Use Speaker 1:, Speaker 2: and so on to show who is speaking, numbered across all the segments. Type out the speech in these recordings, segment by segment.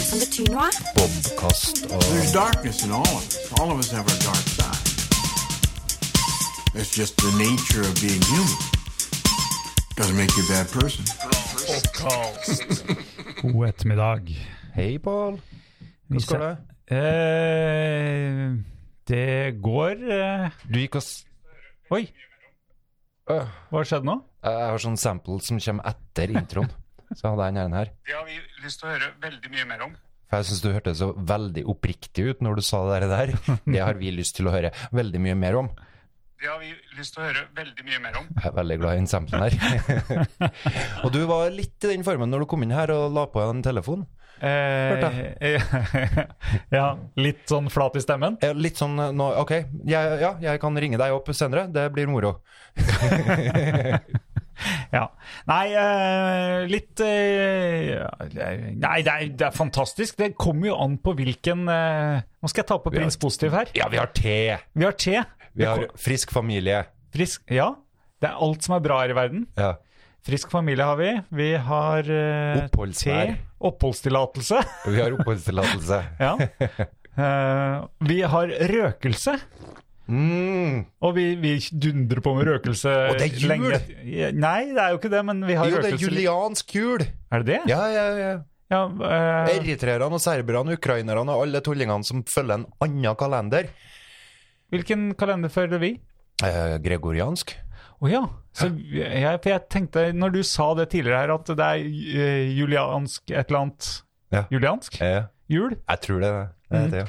Speaker 1: noe?
Speaker 2: Bobkast og
Speaker 3: There's darkness in all of us. All of us have our dark side. It's just the nature of being human. Doesn't make you a bad person.
Speaker 4: God ettermiddag.
Speaker 2: Hei, Pål. Hvordan går det?
Speaker 4: Eh, det går eh,
Speaker 2: Du gikk og s...
Speaker 4: Oi,
Speaker 2: Øh,
Speaker 4: hva skjedde nå?
Speaker 2: Jeg har sånn sample som kommer etter introen. Så hadde jeg den her.
Speaker 5: Det har vi lyst til å høre veldig mye mer om.
Speaker 2: For jeg syns du hørtes så veldig oppriktig ut når du sa det der. Det har vi lyst til å høre veldig mye mer om.
Speaker 5: Det har vi lyst til å høre veldig mye mer om.
Speaker 2: Jeg er veldig glad i den samplen her. Og du var litt i den formen når du kom inn her og la på en telefon.
Speaker 4: Eh, ja, litt sånn flat i stemmen.
Speaker 2: Eh, Litt sånn eh, nå, OK, jeg, ja, jeg kan ringe deg opp senere. Det blir moro.
Speaker 4: Ja. Nei, eh, litt eh, ja, Nei, det er, det er fantastisk. Det kommer jo an på hvilken eh, Nå skal jeg ta på
Speaker 2: har-
Speaker 4: prins positiv her.
Speaker 2: Ja, vi har te!
Speaker 4: Vi har te.
Speaker 2: Vi har frisk familie.
Speaker 4: Frisk Ja. Det er alt som er bra her i verden.
Speaker 2: Ja.
Speaker 4: Frisk familie har vi. Vi har eh,
Speaker 2: Oppholdsvær.
Speaker 4: te. Oppholdstillatelse.
Speaker 2: Vi har oppholdstillatelse.
Speaker 4: Ja. Eh, vi har røkelse,
Speaker 2: Mm.
Speaker 4: og vi, vi dundrer på med røkelse
Speaker 2: Og det er jul!
Speaker 4: lenge et- Nei, det er jo ikke det, men vi har
Speaker 2: Jo, det er
Speaker 4: røkelse
Speaker 2: juliansk jul!
Speaker 4: Er det det?
Speaker 2: Ja, ja, ja.
Speaker 4: Ja, eh,
Speaker 2: Eritreerne og serberne, ukrainerne og alle tullingene som følger en annen kalender.
Speaker 4: hvilken kalender følger vi?
Speaker 2: Eh, gregoriansk.
Speaker 4: Å ja. Så jeg, for jeg tenkte, når du sa det tidligere her, at det er eh, juliansk et eller annet
Speaker 2: Ja. Mm.
Speaker 4: Juliansk?
Speaker 2: Eh,
Speaker 4: Jul?
Speaker 2: jeg tror det. det er det.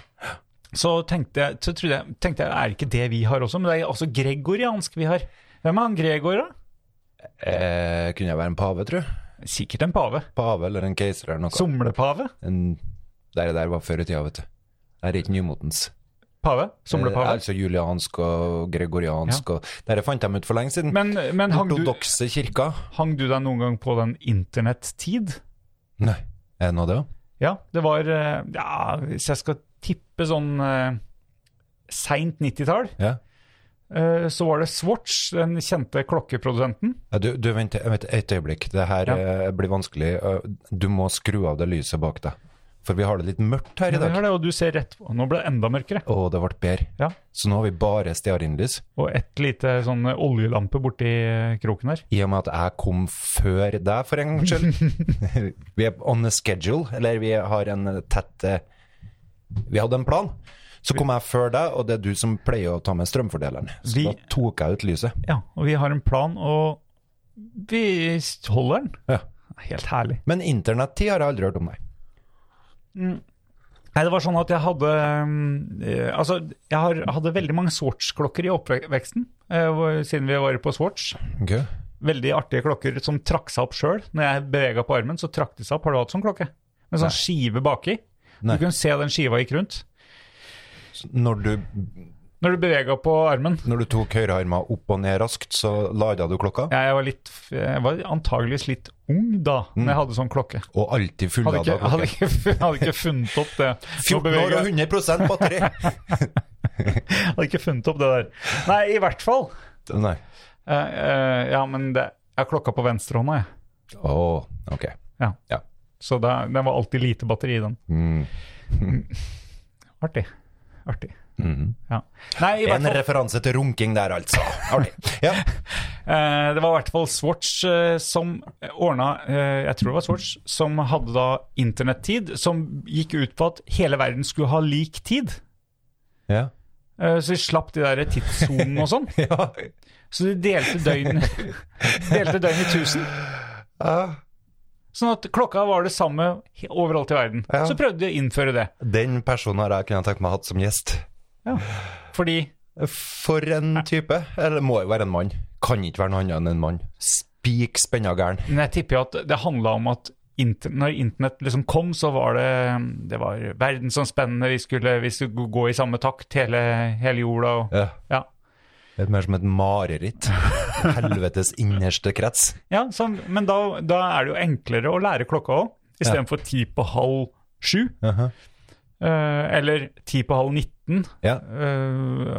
Speaker 4: Så tenkte jeg, så trodde jeg, tenkte jeg, er det ikke det vi har også? Men det er altså gregoriansk vi har. Hvem er han Gregor, da?
Speaker 2: Eh, kunne jeg være en pave, tru?
Speaker 4: Sikkert en pave.
Speaker 2: Pave eller en keiser eller noe.
Speaker 4: Somlepave?
Speaker 2: En, det der var før i tida, vet du. Det er ikke nymotens.
Speaker 4: Pave?
Speaker 2: Eh,
Speaker 4: Somlepave?
Speaker 2: altså juliansk og gregoriansk og Dette fant de ut for lenge siden.
Speaker 4: Men, men hang, du,
Speaker 2: Ortodokse kirka.
Speaker 4: hang du deg noen gang på den internettid?
Speaker 2: Nei, er det noe av det òg?
Speaker 4: Ja, det var eh, Ja, hvis jeg skal tippe sånn eh, seint 90-tall,
Speaker 2: Ja.
Speaker 4: eh, så var det Swatch, den kjente klokkeprodusenten.
Speaker 2: Ja, Du, du vent, vent et øyeblikk. Det her eh, blir vanskelig. Eh, Du må skru av det lyset bak deg. For vi har det litt mørkt her i
Speaker 4: Ja, vi
Speaker 2: dag.
Speaker 4: har det, og du ser rett på. Nå ble det enda mørkere.
Speaker 2: Å, det ble bedre.
Speaker 4: Ja.
Speaker 2: Så nå har vi bare stearinlys.
Speaker 4: Og et lite sånn oljelampe borti eh, kroken her.
Speaker 2: I og med at jeg kom før deg, for en gangs skyld. vi er on a schedule, eller vi har en tett eh, Vi hadde en plan. Så kom jeg før deg, og det er du som pleier å ta med strømfordeleren. Så
Speaker 4: Vi-
Speaker 2: da tok jeg ut lyset.
Speaker 4: Ja, og vi har en plan, og vi holder den.
Speaker 2: Ja.
Speaker 4: Helt herlig.
Speaker 2: Men internettid har jeg aldri hørt om, nei.
Speaker 4: Nei, det var sånn at jeg hadde mm, eh, Altså, jeg har, hadde veldig mange Swatch-klokker i oppveksten, eh, hvor- siden vi var på Swatch.
Speaker 2: Okay.
Speaker 4: Veldig artige klokker som trakk seg opp sjøl. Når jeg bevega på armen, så trakk de seg opp. Har du hatt sånn klokke? Med sånn skive baki.
Speaker 2: Nei.
Speaker 4: Du kunne se den skiva gikk rundt.
Speaker 2: Når du,
Speaker 4: Når du bevega på armen
Speaker 2: når du tok høyrearma opp og ned raskt, så lada du klokka?
Speaker 4: Ja, jeg var, litt, jeg var antageligvis litt ung da, når
Speaker 2: Mm.
Speaker 4: jeg hadde sånn klokke.
Speaker 2: Og alltid full
Speaker 4: Hadde ikke,
Speaker 2: av
Speaker 4: hadde ikke, hadde ikke funnet opp det. Nå
Speaker 2: 14 år og
Speaker 4: beveger jeg-
Speaker 2: 100 batteri!
Speaker 4: Hadde ikke funnet opp det der. Nei, i hvert fall.
Speaker 2: Nei.
Speaker 4: Eh, eh, ja, men det, jeg har klokka på venstrehånda, jeg.
Speaker 2: Å, ok.
Speaker 4: Så da, den var alltid lite batteri i den.
Speaker 2: Mm.
Speaker 4: Artig. Artig.
Speaker 2: Mhm.
Speaker 4: Ja. Nei, i hvert
Speaker 2: En
Speaker 4: fall,
Speaker 2: referanse til runking der, altså. Artig. Ja.
Speaker 4: eh, det var i hvert fall Swatch eh, som ordna eh, Jeg tror det var Swatch som hadde da internettid, som gikk ut på at hele verden skulle ha lik tid.
Speaker 2: Ja.
Speaker 4: Eh, Så de slapp de der tidssonene og sånn.
Speaker 2: ja.
Speaker 4: Så de delte døgn, delte døgn i tusen. Sånn at klokka var det samme he- overalt i verden.
Speaker 2: Ja.
Speaker 4: Så prøvde de å innføre det.
Speaker 2: Den personen har jeg kunnet tenkt meg hatt som gjest.
Speaker 4: Fordi
Speaker 2: For en type. Eller må jo være en mann. Kan ikke være noe annet enn en mann. Spik spenna gæren.
Speaker 4: men jeg tipper jo at det handla om at inter, når internett liksom kom, så var det, det var verdensomspennende. Vi skulle, vi skulle gå i samme takt hele, hele jorda. Og,
Speaker 2: Ja.
Speaker 4: ja.
Speaker 2: Det er mer som et mareritt. Helvetes innerste krets.
Speaker 4: Ja, så, men da, da er det jo enklere å lære klokka òg, istedenfor ti på halv sju.
Speaker 2: Aha.
Speaker 4: eh, eller ti på halv nitten.
Speaker 2: Ja.
Speaker 4: Eh,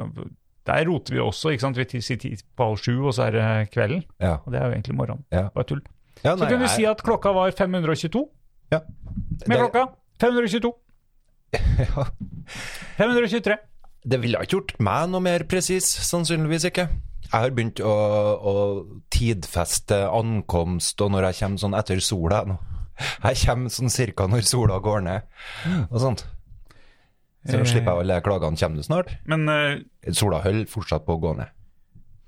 Speaker 4: der roter vi også, ikke sant. Vi ti- sier ti på halv sju, og så er det kvelden.
Speaker 2: Ja.
Speaker 4: Og det er jo egentlig morgenen.
Speaker 2: Ja.
Speaker 4: Bare tull. Så
Speaker 2: ja nei,
Speaker 4: kunne du
Speaker 2: jeg-
Speaker 4: si at klokka var 522
Speaker 2: ja.
Speaker 4: med
Speaker 2: Det-
Speaker 4: klokka. 522.
Speaker 2: Ja.
Speaker 4: 523.
Speaker 2: Det ville ikke gjort meg noe mer presis, sannsynligvis ikke. Jeg har begynt å, å tidfeste ankomst og når jeg kommer sånn etter sola nå. Jeg kommer sånn cirka når sola går ned og sånt. Så
Speaker 4: Eh.
Speaker 2: slipper jeg alle de klagene. Kommer du snart?
Speaker 4: Men eh,
Speaker 2: Sola holder fortsatt på å gå ned.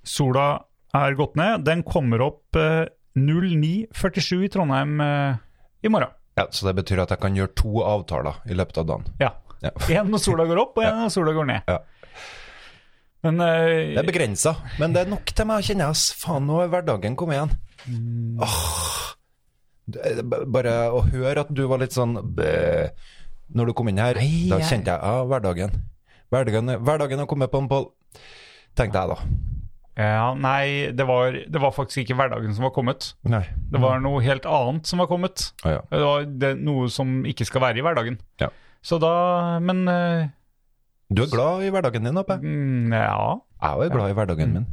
Speaker 4: sola er gått ned. Den kommer opp eh, 09.47 i Trondheim eh, i morgen.
Speaker 2: Ja, så det betyr at jeg kan gjøre to avtaler i løpet av dagen.
Speaker 4: Ja.
Speaker 2: Ja.
Speaker 4: Én når sola går opp, og én når sola går ned.
Speaker 2: Ja.
Speaker 4: Men eh,
Speaker 2: Det er begrensa, men det er nok til meg å kjenne ass. Faen, nå er hverdagen kommet igjen. Åh. Det- det- b- Bare å høre at du var litt sånn bæ, når du kom inn her,
Speaker 4: Nei,
Speaker 2: da
Speaker 4: jeg-
Speaker 2: kjente jeg ja, hverdagen. Hverdagen, er- hverdagen har kommet på en Pål. Tenkte jeg da.
Speaker 4: ja, nei, det var, det var faktisk ikke hverdagen som var kommet.
Speaker 2: Nei.
Speaker 4: Det var
Speaker 2: Mm.
Speaker 4: noe helt annet som var kommet.
Speaker 2: Å Ah, ja.
Speaker 4: Det var det, noe som ikke skal være i hverdagen.
Speaker 2: Ja.
Speaker 4: Så da Men eh,
Speaker 2: Du er glad i hverdagen din, Appe. Jeg
Speaker 4: mm, ja.
Speaker 2: er jo glad i hverdagen min.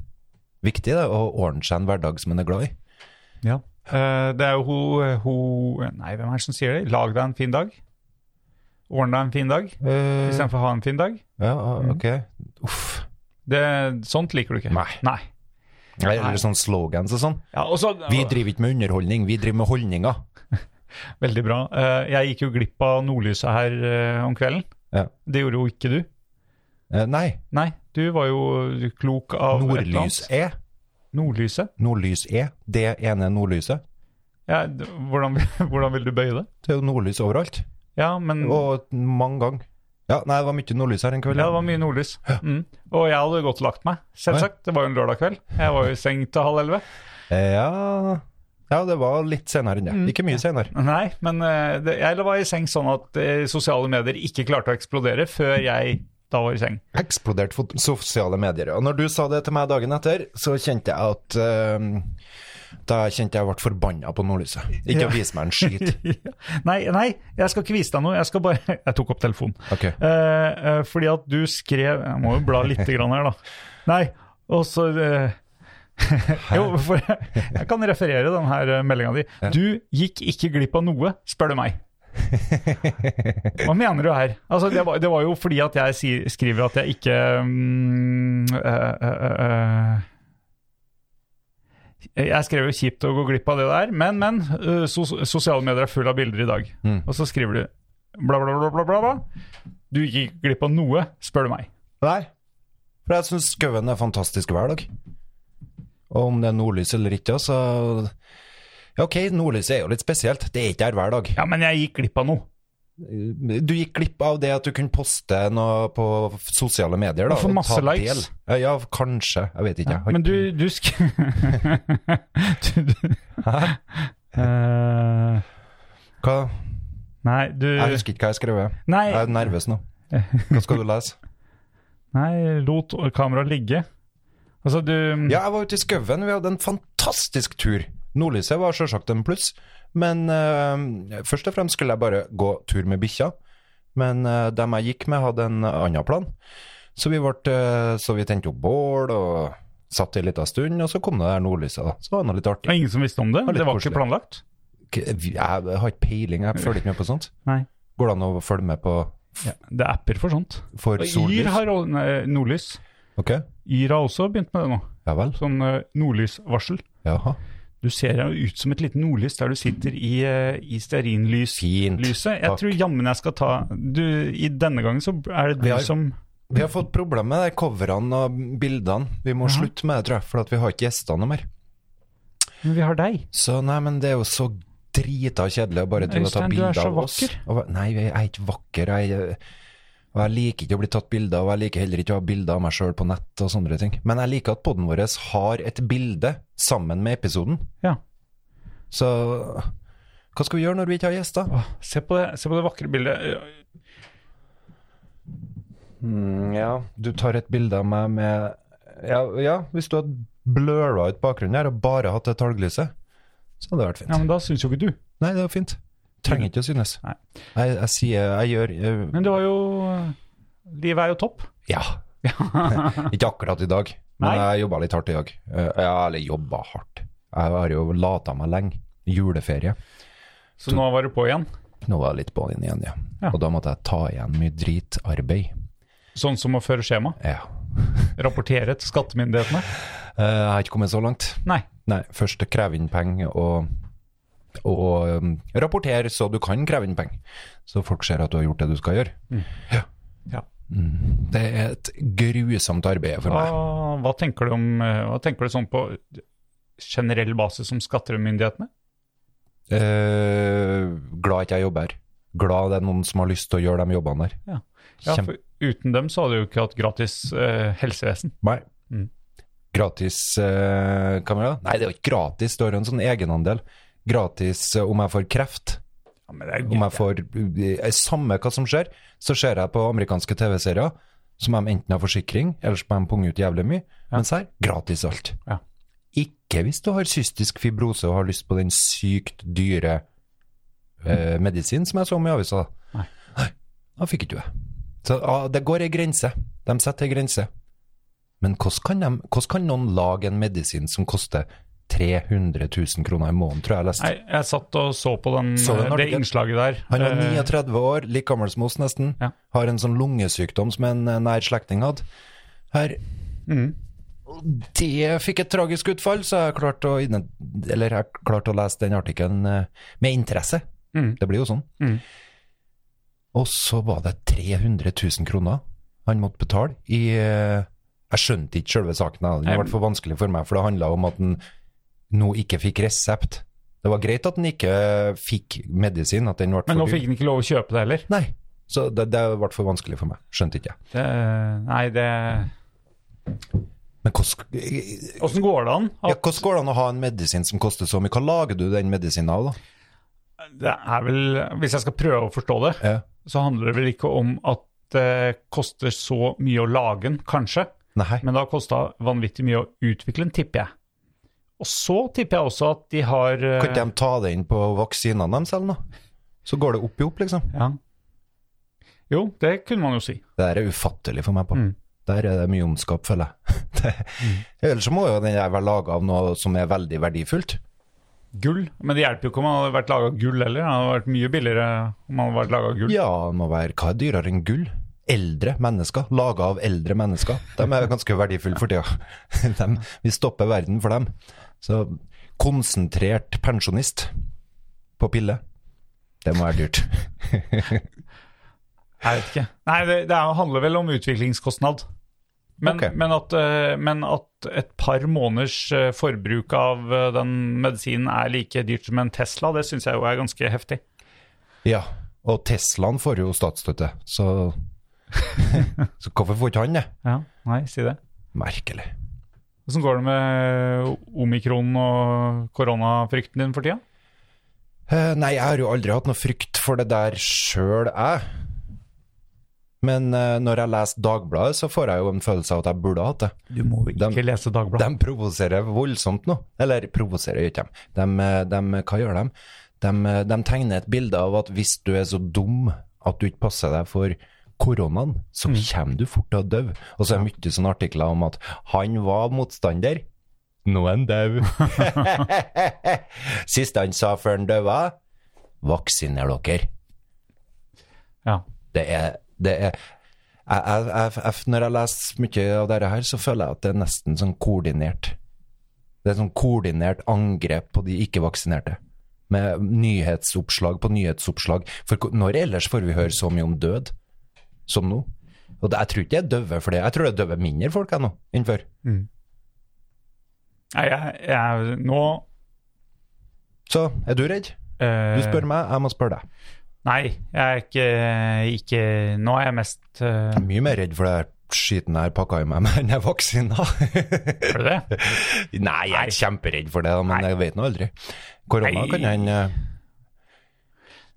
Speaker 2: Viktig det, å ordne seg en hverdag som en er glad i.
Speaker 4: Eh, det er jo hun ho, Nei, hvem er det som sier det? Lag deg en fin dag. Ordn deg en fin dag
Speaker 2: Eh,
Speaker 4: istedenfor å ha en fin dag.
Speaker 2: ja, ah, ok. Uff.
Speaker 4: Det, sånt liker du ikke.
Speaker 2: Nei. Eller sånn slogans og sånn.
Speaker 4: Ja, og så-
Speaker 2: Vi driver ikke med underholdning, vi driver med holdninger.
Speaker 4: Veldig bra. Eh, jeg gikk jo glipp av nordlyset her eh, om kvelden.
Speaker 2: Ja.
Speaker 4: Det gjorde jo ikke du.
Speaker 2: Eh, Nei.
Speaker 4: Nei, du var jo klok av et eller
Speaker 2: Nordlys
Speaker 4: annet.
Speaker 2: E.
Speaker 4: Nordlyset?
Speaker 2: Nordlys E. Det ene nordlyset.
Speaker 4: Ja, d- hvordan, hvordan vil du bøye det?
Speaker 2: Det er jo nordlys overalt.
Speaker 4: Ja, men
Speaker 2: Og mange ganger. Ja, nei, det var mye nordlys her en kveld.
Speaker 4: Mm. Ja, det var mye nordlys. Mm. Og jeg hadde godt lagt meg, selvsagt. Det var jo en lørdag kveld. Jeg var jo i seng til halv elleve.
Speaker 2: Eh, ja. ja, det var litt senere enn
Speaker 4: Mm.
Speaker 2: det. Ikke mye senere.
Speaker 4: Nei, men eh, det, jeg var i seng sånn at eh, sosiale medier ikke klarte å eksplodere før jeg da var i seng.
Speaker 2: Eksplodert fot- sosiale medier. Og når du sa det til meg dagen etter, så kjente jeg at eh, Da kjente jeg ble forbanna på nordlyset. Ikke
Speaker 4: Ja.
Speaker 2: å vise meg en skit.
Speaker 4: nei, nei, jeg skal ikke vise deg noe. Jeg skal bare Jeg tok opp telefonen.
Speaker 2: Ok.
Speaker 4: Eh, eh, fordi at du skrev Jeg må jo bla litt grann her, da. Nei, og så eh, Jo, for jeg kan referere denne meldinga di. Du gikk ikke glipp av noe, spør du meg. Hva mener du her? Altså, det, var, det var jo fordi at jeg sier, skriver at jeg ikke mm, eh, eh, eh, jeg skrev jo kjipt å gå glipp av det der, men, men. eh, Sos sosiale medier er full av bilder i dag.
Speaker 2: Mm.
Speaker 4: Og så skriver du bla, bla, bla, bla, bla, bla. Du gikk glipp av noe, spør du meg.
Speaker 2: Nei. For jeg syns skauen er fantastisk hver dag. Og om det er nordlys eller ikke, så Ja, ok, nordlyset er jo litt spesielt. Det er ikke her hver dag.
Speaker 4: Ja, men jeg gikk glipp av noe.
Speaker 2: Eh, Du gikk glipp av det at du kunne poste noe på sosiale medier. Da,
Speaker 4: Og få
Speaker 2: ta
Speaker 4: masse likes.
Speaker 2: del. Ja, kanskje. Jeg vet ikke.
Speaker 4: Men du, du sk... du, du.
Speaker 2: Hæ?
Speaker 4: Eh,
Speaker 2: Hva?
Speaker 4: nei, du
Speaker 2: Jeg husker ikke hva jeg skrev.
Speaker 4: Nei,
Speaker 2: Jeg er nervøs nå. Hva skal du lese?
Speaker 4: nei lot kameraet ligge. Altså, du
Speaker 2: Ja, jeg var ute i skauen. Vi hadde en fantastisk tur. Nordlyset var selvsagt en pluss, men eh, først og fremst skulle jeg bare gå tur med bikkja. Men eh, dem jeg gikk med, hadde en annen plan. Så vi, vart, eh, så vi tente opp bål og satt i en liten stund, og så kom det der nordlyset. da. Så det var noe litt artig.
Speaker 4: Det var ingen som visste om det?
Speaker 2: var litt
Speaker 4: Det var
Speaker 2: koselig.
Speaker 4: ikke planlagt?
Speaker 2: K- vi- Jeg har ikke peiling, jeg følger ikke med på sånt.
Speaker 4: Nei.
Speaker 2: Går det an å følge med på
Speaker 4: Det er apper for sånt.
Speaker 2: for
Speaker 4: Yr
Speaker 2: sollys?
Speaker 4: har ol- nei, nordlys.
Speaker 2: Ok,
Speaker 4: Yr har også begynt med det nå.
Speaker 2: ja vel.
Speaker 4: Sånn eh, nordlysvarsel.
Speaker 2: Jaha.
Speaker 4: Du ser jo ut som et lite nordlys der du sitter i, eh, i stearinlyslyset.
Speaker 2: Fint.
Speaker 4: Jeg
Speaker 2: Takk.
Speaker 4: tror jammen jeg skal ta du, I denne gangen så er det
Speaker 2: Vi
Speaker 4: du
Speaker 2: har-
Speaker 4: som
Speaker 2: Vi har fått problemer med de coverne og bildene. Vi må slutte med det, tror jeg, for at vi har ikke gjestene mer.
Speaker 4: Men vi har deg.
Speaker 2: Så nei, men det er jo så drita kjedelig å bare til å ta
Speaker 4: Øystein, du er
Speaker 2: bilder
Speaker 4: så
Speaker 2: av oss.
Speaker 4: vakker.
Speaker 2: Og, hva- nei, jeg er ikke vakker. Jeg, og jeg liker ikke å bli tatt bilder av, og jeg liker heller ikke å ha bilder av meg sjøl på nett og sånne ting. Men jeg liker at poden vår har et bilde sammen med episoden.
Speaker 4: Ja.
Speaker 2: Så hva skal vi gjøre når vi ikke har gjester?
Speaker 4: Åh, Se på det, se på det vakre bildet.
Speaker 2: Mm, ja, du tar et bilde av meg med Ja, ja hvis du hadde bløra ut bakgrunnen her og bare hatt det talglyset, så hadde det vært fint.
Speaker 4: Ja, men da syns jo ikke du.
Speaker 2: Nei, det er jo fint. Trenger ikke å synes.
Speaker 4: Nei.
Speaker 2: Jeg, jeg sier Jeg gjør jeg,
Speaker 4: Men du har jo Livet er jo topp.
Speaker 2: Ja. ikke akkurat i dag, men
Speaker 4: Nei.
Speaker 2: jeg jobba litt hardt i dag. Eh, Ja, eller jobba hardt. Jeg har jo lata meg lenge. Juleferie.
Speaker 4: Så nå var du på igjen.
Speaker 2: knova litt på den igjen, ja.
Speaker 4: Ja.
Speaker 2: Og da måtte jeg ta igjen mye dritarbeid.
Speaker 4: Sånn som å føre skjema?
Speaker 2: Ja.
Speaker 4: Rapportere til skattemyndighetene?
Speaker 2: Eh, Jeg har ikke kommet så langt.
Speaker 4: Nei.
Speaker 2: Nei, først kreve inn penger og, og um, rapportere så du kan kreve inn penger. Så folk ser at du har gjort det du skal gjøre. Ja.
Speaker 4: Mm. Ja.
Speaker 2: Mm. Det er et grusomt arbeid for
Speaker 4: Hva,
Speaker 2: meg.
Speaker 4: hva tenker du om eh, Hva tenker du sånn på generell basis om skattemyndighetene?
Speaker 2: Eh, glad ikke jeg jobber her. Glad det er noen som har lyst til å gjøre de jobbene der.
Speaker 4: Ja. Ja,
Speaker 2: Kjempe-
Speaker 4: for uten dem så hadde du jo ikke hatt gratis eh, helsevesen.
Speaker 2: Nei.
Speaker 4: Mm.
Speaker 2: Gratis eh, kamera? Nei, det er jo ikke gratis, det har jo en sånn egenandel. Gratis eh, om jeg får kreft.
Speaker 4: Ja, men det er
Speaker 2: Om jeg får eh, Samme hva som skjer, så ser jeg på amerikanske TV-serier som de enten har forsikring, eller så må de punge ut jævlig mye. Mens her gratis alt.
Speaker 4: Ja.
Speaker 2: Ikke hvis du har cystisk fibrose og har lyst på den sykt dyre eh, medisinen som jeg så om i avisa.
Speaker 4: Nei.
Speaker 2: Nei, da fikk ikke du det. Så ah, det går ei grense. De setter ei grense. Men hvordan kan, dem- hvordan kan noen lage en medisin som koster 300 000 kroner i måneden, tror jeg jeg leste.
Speaker 4: Nei, jeg satt og så på den, eh,
Speaker 2: Så du den
Speaker 4: det
Speaker 2: artikkelen?
Speaker 4: innslaget der.
Speaker 2: Han var
Speaker 4: Eh,
Speaker 2: 39 år, like gammel som oss nesten.
Speaker 4: Ja.
Speaker 2: Har en sånn lungesykdom som en eh, nær slektning hadde. Her
Speaker 4: Mhm.
Speaker 2: Og Det fikk et tragisk utfall, så jeg klarte å, innen- eller jeg klarte å lese den artikkelen eh, med interesse.
Speaker 4: Mhm.
Speaker 2: Det blir jo sånn.
Speaker 4: Mhm.
Speaker 2: Og så var det 300 000 kroner han måtte betale i eh, Jeg skjønte ikke selve saken, jeg. den
Speaker 4: Nei,
Speaker 2: ble for vanskelig for meg, for det handla om at han nå ikke fikk resept. Det var greit at han ikke eh, fikk medisin, at den ble
Speaker 4: men nå
Speaker 2: forbudt.
Speaker 4: fikk den ikke lov å kjøpe det heller.
Speaker 2: Nei. Så det, det ble for vanskelig for meg. Skjønte ikke jeg.
Speaker 4: Det, nei, det
Speaker 2: Men hvordan ja,
Speaker 4: Åssen går det an? At
Speaker 2: hvordan går det an å ha en medisin som koster så mye? Hva lager du den medisinen av, da?
Speaker 4: det er vel Hvis jeg skal prøve å forstå det,
Speaker 2: Ja.
Speaker 4: så handler det vel ikke om at det koster så mye å lage den, kanskje.
Speaker 2: Nei.
Speaker 4: Men det har kosta vanvittig mye å utvikle den, tipper jeg. Og så tipper jeg også at de har eh,
Speaker 2: Kan ikke de ta det inn på vaksinene deres eller noe? Så går det opp i opp, liksom.
Speaker 4: ja. Jo, det kunne man jo si.
Speaker 2: Det der er ufattelig for meg. på.
Speaker 4: Mm.
Speaker 2: Der er det mye ondskap, føler jeg. Det, Ellers så må jo den der være laga av noe som er veldig verdifullt.
Speaker 4: Gull. Men det hjelper jo ikke om man hadde vært laga av gull heller. Det hadde vært mye billigere om man hadde vært laga av gull.
Speaker 2: Ja, det må være Hva er dyrere enn gull? Eldre mennesker. Laga av eldre mennesker. De er ganske verdifulle for tida. Dem- vi stopper verden for dem. Så konsentrert pensjonist på pille. Det må være dyrt.
Speaker 4: Jeg vet ikke. Nei, det, det er- handler vel om utviklingskostnad. Men,
Speaker 2: Ok.
Speaker 4: men, at, eh, men at et par måneders eh, forbruk av eh, den medisinen er like dyrt som en Tesla, det syns jeg jo er ganske heftig.
Speaker 2: Ja, og Teslaen får jo statsstøtte, så Så hvorfor får ikke han det?
Speaker 4: Ja, nei, si det.
Speaker 2: Merkelig.
Speaker 4: Hvordan går det med eh, omikron og koronafrykten din for tida?
Speaker 2: Eh, nei, jeg har jo aldri hatt noe frykt for det der sjøl, jeg. Men eh, når jeg leser Dagbladet, så får jeg jo en følelse av at jeg burde ha hatt det.
Speaker 4: Du må jo
Speaker 2: ikke
Speaker 4: lese Dagbladet.
Speaker 2: De provoserer voldsomt nå. Eller provoserer jo ikke dem. De, eh, de, hva gjør de? de? eh, De tegner et bilde av at hvis du er så dum at du ikke passer deg for koronaen, så kommer du fort til å dø. Og så er det mye sånne artikler om at han var motstander, nå er han død. Siste han sa før han døde, vaksiner dere.
Speaker 4: Ja.
Speaker 2: Det er, det er jeg, jeg, jeg, jeg, Når jeg leser mye av dette her, så føler jeg at det er nesten sånn koordinert. Det er sånn koordinert angrep på de ikke-vaksinerte. Med nyhetsoppslag på nyhetsoppslag. For ko- når ellers får vi høre så mye om død som nå? Og det, jeg tror ikke det er døve for det. Jeg tror det er døve mindre folk enn nå, enn før.
Speaker 4: Nei, jeg, jeg Nå
Speaker 2: Så er du redd?
Speaker 4: eh,
Speaker 2: Du spør meg, jeg må spørre deg.
Speaker 4: Nei, jeg er ikke, ikke Nå er jeg mest eh,
Speaker 2: Jeg er mye mer redd for det her skiten jeg har pakka i meg med enn jeg er vaksina.
Speaker 4: Er du det?
Speaker 2: Nei, jeg er kjemperedd for det, da, men jeg vet nå aldri. Korona
Speaker 4: Nei.
Speaker 2: kan hende eh,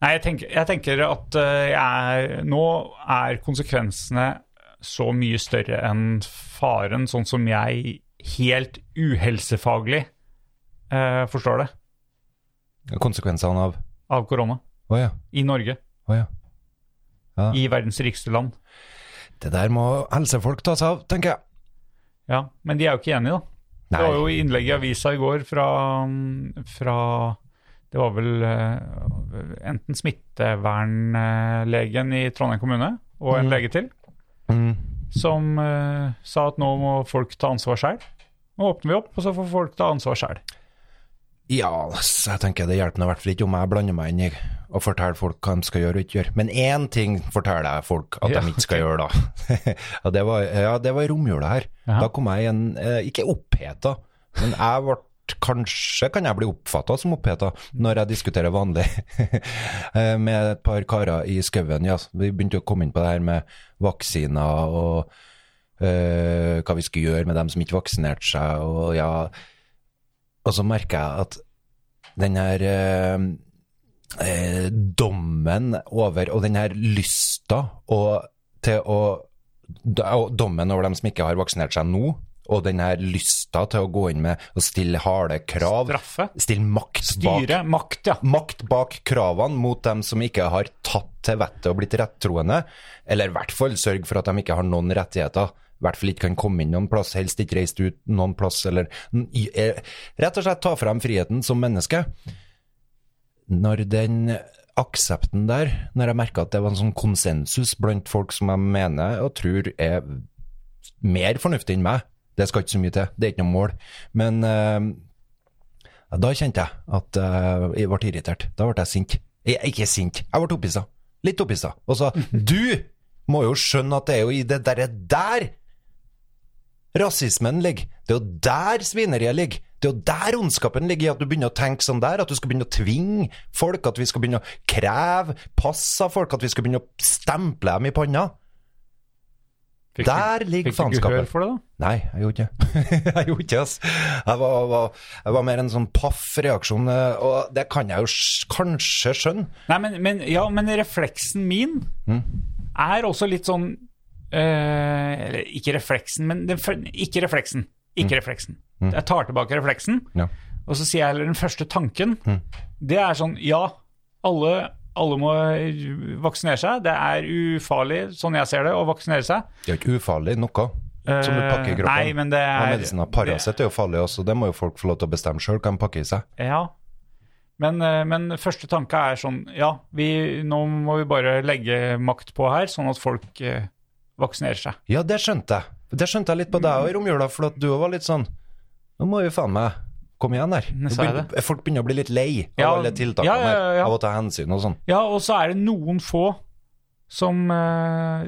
Speaker 4: Nei, jeg tenker, jeg tenker at eh, jeg er, nå er konsekvensene så mye større enn faren, sånn som jeg helt uhelsefaglig eh, forstår det,
Speaker 2: eh, konsekvensene av
Speaker 4: av korona.
Speaker 2: Å ja.
Speaker 4: I Norge,
Speaker 2: Å ja.
Speaker 4: i verdens rikeste land.
Speaker 2: Det der må helsefolk ta seg av, tenker jeg.
Speaker 4: Ja, Men de er jo ikke enige, da. Det
Speaker 2: Nei.
Speaker 4: var jo innlegg i avisa i går fra, fra Det var vel eh, enten smittevernlegen i Trondheim kommune og en lege til
Speaker 2: Mm.
Speaker 4: som eh, sa at nå må folk ta ansvar sjøl. Nå åpner vi opp, og så får folk ta ansvar sjøl.
Speaker 2: Ja, ass, jeg tenker det hjelper nå i hvert fall ikke om jeg blander meg inn i og forteller folk hva de skal gjøre og ikke gjøre. Men én ting forteller jeg folk at
Speaker 4: Ja,
Speaker 2: de ikke skal gjøre, da. og det var, ja, det var i romjula her.
Speaker 4: Jaha.
Speaker 2: Da kom jeg i en eh, Ikke oppheta, men jeg ble Kanskje kan jeg bli oppfatta som oppheta når jeg diskuterer vanlig eh, med et par karer i skauen. Ja, vi begynte å komme inn på det her med vaksiner og eh, hva vi skulle gjøre med dem som ikke vaksinerte seg. Og, ja. og så merker jeg at den her eh, eh, dommen over, og den her lysta og, til å da- og Dommen over dem som ikke har vaksinert seg nå, og den her lysta til å gå inn med og stille harde krav
Speaker 4: Straffe.
Speaker 2: Stille makt bak
Speaker 4: Styre. Makt, ja.
Speaker 2: makt bak kravene mot dem som ikke har tatt til vettet og blitt rettroende, eller i hvert fall sørge for at de ikke har noen rettigheter, i hvert fall ikke kan komme inn noen plass, helst ikke reist ut noen plass, eller i- eh, rett og slett ta frem friheten som menneske. Når den aksepten der, når jeg merka at det var en sånn konsensus blant folk som jeg mener og tror er mer fornuftig enn meg, det skal ikke så mye til, det er ikke noe mål, men eh, ja, Da kjente jeg at eh, jeg ble irritert. Da ble jeg sint. Jeg, ikke sint, jeg ble opphissa. Litt opphissa. Og sa du må jo skjønne at det er jo i det derre der rasismen ligger. Det er jo der svineriet ligger. Det er jo der ondskapen ligger, i at du begynner å tenke sånn der. At du skal begynne å tvinge folk, at vi skal begynne å kreve pass av folk, at vi skal begynne å stemple dem i panna.
Speaker 4: Fikk
Speaker 2: Der
Speaker 4: du-
Speaker 2: ligger
Speaker 4: Fikk du
Speaker 2: faenskapet.
Speaker 4: gehør for det, da?
Speaker 2: Nei, jeg gjorde ikke Jeg gjorde ikke, ass. Jeg var, var, jeg var mer en sånn paff reaksjon, eh, og det kan jeg jo s- kanskje skjønne.
Speaker 4: Nei, men, men, ja, men refleksen min
Speaker 2: Mm.
Speaker 4: er også litt sånn eh, Eller ikke refleksen, men den, fø- Ikke refleksen. Ikke refleksen. Jeg tar tilbake refleksen,
Speaker 2: Mm. Ja. Mm.
Speaker 4: og så sier jeg heller den første tanken. Det er sånn Ja, alle, alle må vaksinere seg. Det er ufarlig, sånn jeg ser det, å vaksinere seg.
Speaker 2: Det er jo ikke ufarlig noe som du pakker i
Speaker 4: Eh,
Speaker 2: kroppen.
Speaker 4: Nei, men det
Speaker 2: Og
Speaker 4: er
Speaker 2: medisiner. Paracet er jo farlig også, det må jo folk få lov til å bestemme sjøl hva de pakker i seg.
Speaker 4: Ja. Men, eh, men første tanke er sånn Ja, vi, nå må vi bare legge makt på her, sånn at folk eh, vaksinerer seg.
Speaker 2: Ja, det skjønte jeg. Det skjønte jeg litt på deg òg i romjula, for at du òg var litt sånn Nå må vi faen meg Kom igjen der. Nå
Speaker 4: sa jeg
Speaker 2: begynner- Folk begynner å bli litt lei av
Speaker 4: Ja,
Speaker 2: alle tiltakene
Speaker 4: ja, ja, ja.
Speaker 2: her, av å ta hensyn og sånn.
Speaker 4: Ja, og så er det noen få som eh,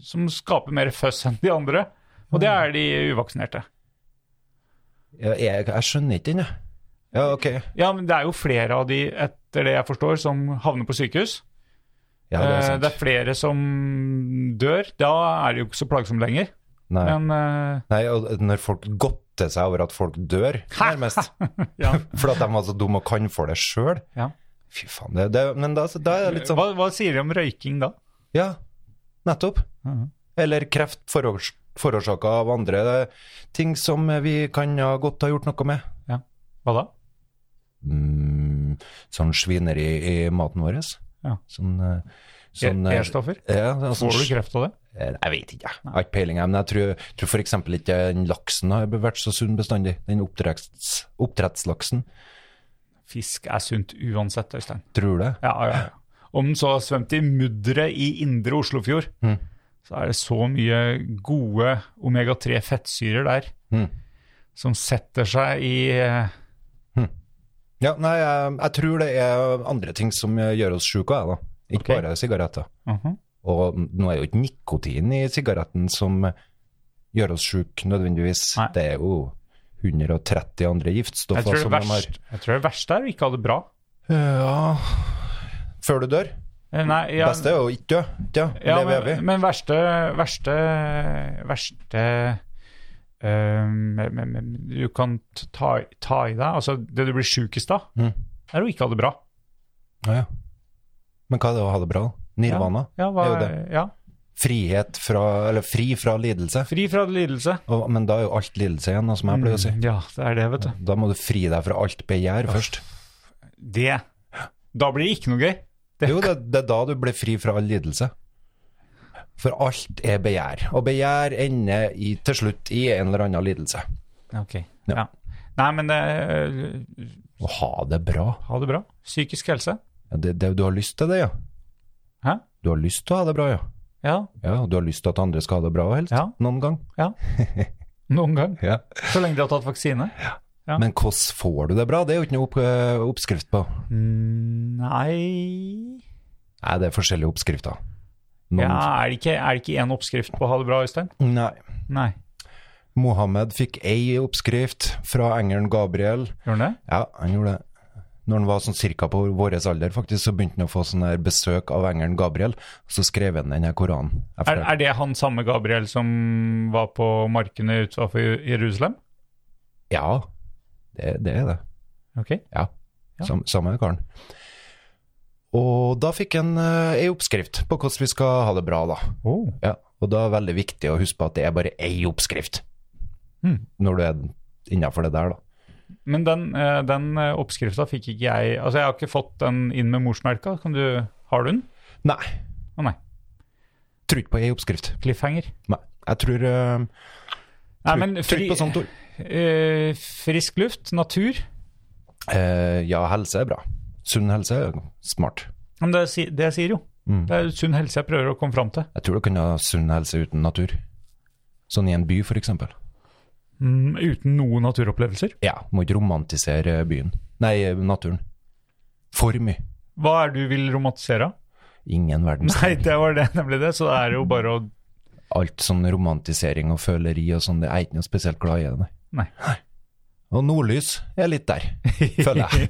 Speaker 4: Som skaper mer føss enn de andre. Og det er de uvaksinerte.
Speaker 2: Jeg, jeg, jeg skjønner ikke den, jeg. Ja, ok.
Speaker 4: Ja, men det er jo flere av de, etter det jeg forstår, som havner på sykehus.
Speaker 2: Ja,
Speaker 4: Eh,
Speaker 2: det er
Speaker 4: det
Speaker 2: sant.
Speaker 4: er flere som dør. Da er det jo ikke så plagsomt lenger.
Speaker 2: Nei.
Speaker 4: Men eh,
Speaker 2: Nei, og når folk godter seg over at folk dør, nærmest.
Speaker 4: ja.
Speaker 2: For at de var så dumme og kan for det sjøl.
Speaker 4: Ja.
Speaker 2: Fy faen. Det, det, men da, da er det litt sånn
Speaker 4: hva, hva sier de om røyking da?
Speaker 2: Ja, nettopp.
Speaker 4: Mhm.
Speaker 2: Eller kreft forårs- forårsaka av andre det er ting som vi kan ha godt ha gjort noe med.
Speaker 4: Hva da?
Speaker 2: Mm, sånn svineri i maten vår.
Speaker 4: Ja.
Speaker 2: Sånn, eh, sånn eh,
Speaker 4: E-stoffer?
Speaker 2: Ja, altså,
Speaker 4: Får du kreft av det?
Speaker 2: Eh, Jeg vet ikke, jeg. jeg har ikke peiling. jeg, Men jeg tror, tror f.eks. ikke den laksen har vært så sunn bestandig. Den oppdretts, oppdrettslaksen.
Speaker 4: Fisk er sunt uansett, Øystein.
Speaker 2: Tror du det?
Speaker 4: Ja, ja, ja. Om den så har svømt i mudderet i indre Oslofjord, så er det så mye gode omega-3-fettsyrer der som setter seg i eh,
Speaker 2: Ja, nei, jeg, jeg tror det er andre ting som gjør oss sjuke, jeg, da. Ikke
Speaker 4: Ok.
Speaker 2: bare sigaretter.
Speaker 4: mhm.
Speaker 2: Og nå er jo ikke nikotin i sigaretten som gjør oss sjuke, nødvendigvis.
Speaker 4: Nei.
Speaker 2: Det er jo 130 andre
Speaker 4: jeg,
Speaker 2: giftstoffer
Speaker 4: tror det
Speaker 2: som de har.
Speaker 4: verst, jeg tror det verste er å ikke ha det bra.
Speaker 2: Ja Før du dør.
Speaker 4: Eh, Nei, ja,
Speaker 2: Beste er jo ikke dø. Ja,
Speaker 4: ja,
Speaker 2: leve evig.
Speaker 4: men, men verste Verste, verste eh, men, men, men, Du kan t- ta, ta i deg Altså, det du blir sjukest av,
Speaker 2: Mm.
Speaker 4: er å ikke ha det bra.
Speaker 2: Ja, ja. Men hva er det å ha det bra? Nirvana?
Speaker 4: Ja, hva,
Speaker 2: Det er jo
Speaker 4: ja.
Speaker 2: Frihet fra Eller fri fra lidelse.
Speaker 4: Fri fra lidelse. Mm,
Speaker 2: Og, men da er jo alt lidelse igjen, da, som jeg pleier å si.
Speaker 4: Ja, det er det, vet du.
Speaker 2: Da må du fri deg fra alt begjær først.
Speaker 4: Det. Da blir det ikke noe gøy. Det-
Speaker 2: Jo, det, det er da du blir fri fra all lidelse. For alt er begjær, og begjær ender i, til slutt i en eller annen lidelse.
Speaker 4: Ok.
Speaker 2: Ja.
Speaker 4: Ja. Nei, men det, eh,
Speaker 2: Å ha det bra.
Speaker 4: ha det bra. Psykisk helse.
Speaker 2: Ja, det, det, du har lyst til det, ja.
Speaker 4: Hæ?
Speaker 2: Du har lyst til å ha det bra, ja.
Speaker 4: Ja,
Speaker 2: Ja, og Du har lyst til at andre skal ha det bra, helst.
Speaker 4: Ja.
Speaker 2: Noen gang.
Speaker 4: noen gang.
Speaker 2: Ja.
Speaker 4: Så lenge de har tatt vaksine. Ja.
Speaker 2: Men hvordan får du det bra? Det er jo ikke noe opp, eh, oppskrift på.
Speaker 4: Mm, Nei
Speaker 2: Nei, det er forskjellige oppskrifter. Noen,
Speaker 4: Ja, er det ikke- er det ikke én oppskrift på å ha det bra, Øystein?
Speaker 2: Nei.
Speaker 4: Nei.
Speaker 2: Mohammed fikk ei oppskrift fra engelen Gabriel.
Speaker 4: Gjør den det?
Speaker 2: Ja, han gjorde det. Når han var sånn cirka på vår alder, faktisk, så begynte han å få sånn her besøk av engelen Gabriel. Så skrev han den her Koranen.
Speaker 4: Er, er det han samme Gabriel som var på markene utenfor Jerusalem?
Speaker 2: Ja, det, det er det.
Speaker 4: Ok.
Speaker 2: Ja.
Speaker 4: Ja.
Speaker 2: Sam, samme karen. Og da fikk han eh, ei oppskrift på hvordan vi skal ha det bra, da.
Speaker 4: Oh.
Speaker 2: Ja, og da er det veldig viktig å huske på at det er bare ei oppskrift.
Speaker 4: Mm.
Speaker 2: Når du er innafor det der, da.
Speaker 4: Men den, eh, den eh, oppskrifta fikk ikke jeg Altså, jeg har ikke fått den inn med morsmelka. Kan du, har du den?
Speaker 2: Nei,
Speaker 4: Å nei.
Speaker 2: tror ikke på ei oppskrift.
Speaker 4: Cliffhanger.
Speaker 2: Nei. Jeg tror eh,
Speaker 4: Nei,
Speaker 2: tror-
Speaker 4: men
Speaker 2: tror
Speaker 4: fri,
Speaker 2: ikke på sånt ord.
Speaker 4: eh, frisk luft, natur
Speaker 2: Eh, ja, helse er bra. Sunn helse er smart.
Speaker 4: Men det, si- det jeg sier jo. Det er sunn helse jeg prøver å komme fram til.
Speaker 2: Jeg tror du kan ha sunn helse uten natur. Sånn i en by, for eksempel.
Speaker 4: Mm, uten noen naturopplevelser.
Speaker 2: Ja, må ikke romantisere byen. Nei, naturen. For mye.
Speaker 4: Hva er det du vil romantisere? av?
Speaker 2: Ingen verdens
Speaker 4: Nei, det var det nemlig det. Så det er jo bare å
Speaker 2: Alt sånn romantisering og føleri og sånn, det er jeg ikke noe spesielt glad i det, nei.
Speaker 4: Nei.
Speaker 2: Og nordlys er litt der, føler jeg.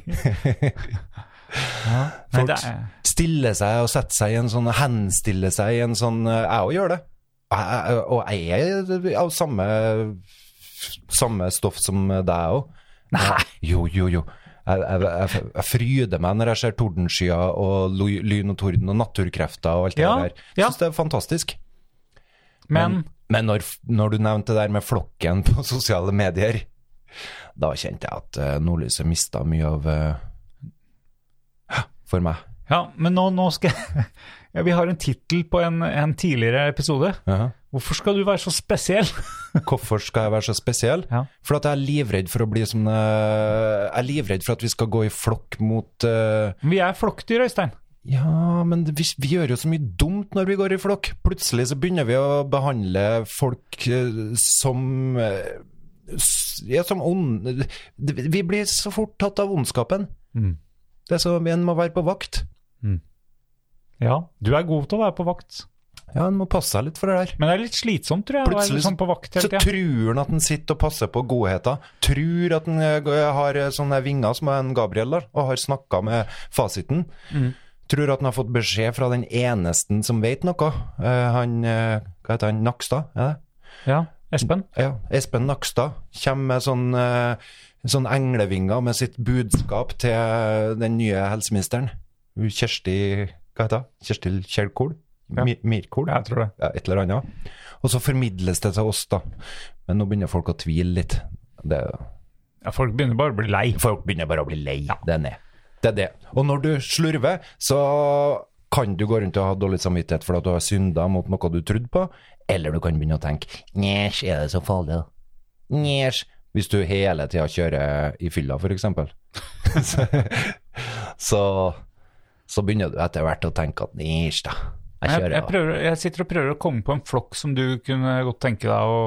Speaker 4: Nei,
Speaker 2: Folk
Speaker 4: det er,
Speaker 2: stiller seg og setter seg i en sånn, henstiller seg i en sånn, eh, jeg også gjør det. Jeg- jeg- Og jeg er av samme, samme stoff som deg også. Nei. Jo, jo, jo. Jeg, jeg, jeg, jeg fryder meg når jeg ser tordenskyer og lo- lyn og torden og naturkrefter og alt
Speaker 4: Ja,
Speaker 2: det der. Jeg
Speaker 4: ja.
Speaker 2: synes det er fantastisk.
Speaker 4: men
Speaker 2: Men når, når du nevnte det der med flokken på sosiale medier, da kjente jeg at eh, nordlyset mista mye av eh, For meg.
Speaker 4: Ja, men nå, nå skal jeg ja, Vi har en tittel på en, en tidligere episode.
Speaker 2: Jaha.
Speaker 4: Hvorfor skal du være så spesiell?
Speaker 2: Hvorfor skal jeg være så spesiell?
Speaker 4: Ja.
Speaker 2: For at jeg er livredd for å bli som eh, Jeg er livredd for at vi skal gå i flokk mot eh,
Speaker 4: Vi er flokkdyr, Øystein.
Speaker 2: Ja, men vi, vi gjør jo så mye dumt når vi går i flokk. Plutselig så begynner vi å behandle folk eh, som eh, s- Ja, som ond... Vi blir så fort tatt av ondskapen.
Speaker 4: Mm.
Speaker 2: Det er så En må være på vakt.
Speaker 4: Ja, du er god til å være på vakt.
Speaker 2: Ja, En må passe seg litt for det der.
Speaker 4: Men det er litt slitsomt, tror jeg, å være
Speaker 2: Plutselig
Speaker 4: litt sånn på vakt
Speaker 2: Så
Speaker 4: hele tida.
Speaker 2: tror han at han sitter og passer på godheter. Tror at han eh, g- har eh, sånne vinger som en Gabriel der, og har snakka med fasiten.
Speaker 4: Mm.
Speaker 2: Tror at han har fått beskjed fra den enesten som vet noe. Eh, han eh, Hva heter han? Nakstad? Er det?
Speaker 4: Ja, Espen.
Speaker 2: Ja, Espen Nakstad kommer med sånn, eh, sånn englevinger med sitt budskap til den nye helseministeren. Hun Kjersti Hva heter hun? Kjersti Kjellkol?
Speaker 4: Ja.
Speaker 2: Mi- Mirkol?
Speaker 4: Jeg tror det.
Speaker 2: Ja, et eller annet. Og så formidles det til oss, da. Men nå begynner folk å tvile litt. Det,
Speaker 4: Ja, folk begynner bare å bli lei.
Speaker 2: folk begynner bare å bli lei. Det er det. Det er det. Og når du slurver, så kan du gå rundt og ha dårlig samvittighet for at du har synda mot noe du trodde på, eller du kan begynne å tenke Njesj, er det så farlig, da? Njesj. Hvis du hele tida kjører i fylla, f.eks. så, så begynner du etter hvert å tenke at njesj, da. Jeg
Speaker 4: Jeg,
Speaker 2: kjører.
Speaker 4: jeg,
Speaker 2: da.
Speaker 4: prøver, jeg sitter og prøver å komme på en flokk som du kunne godt tenke deg å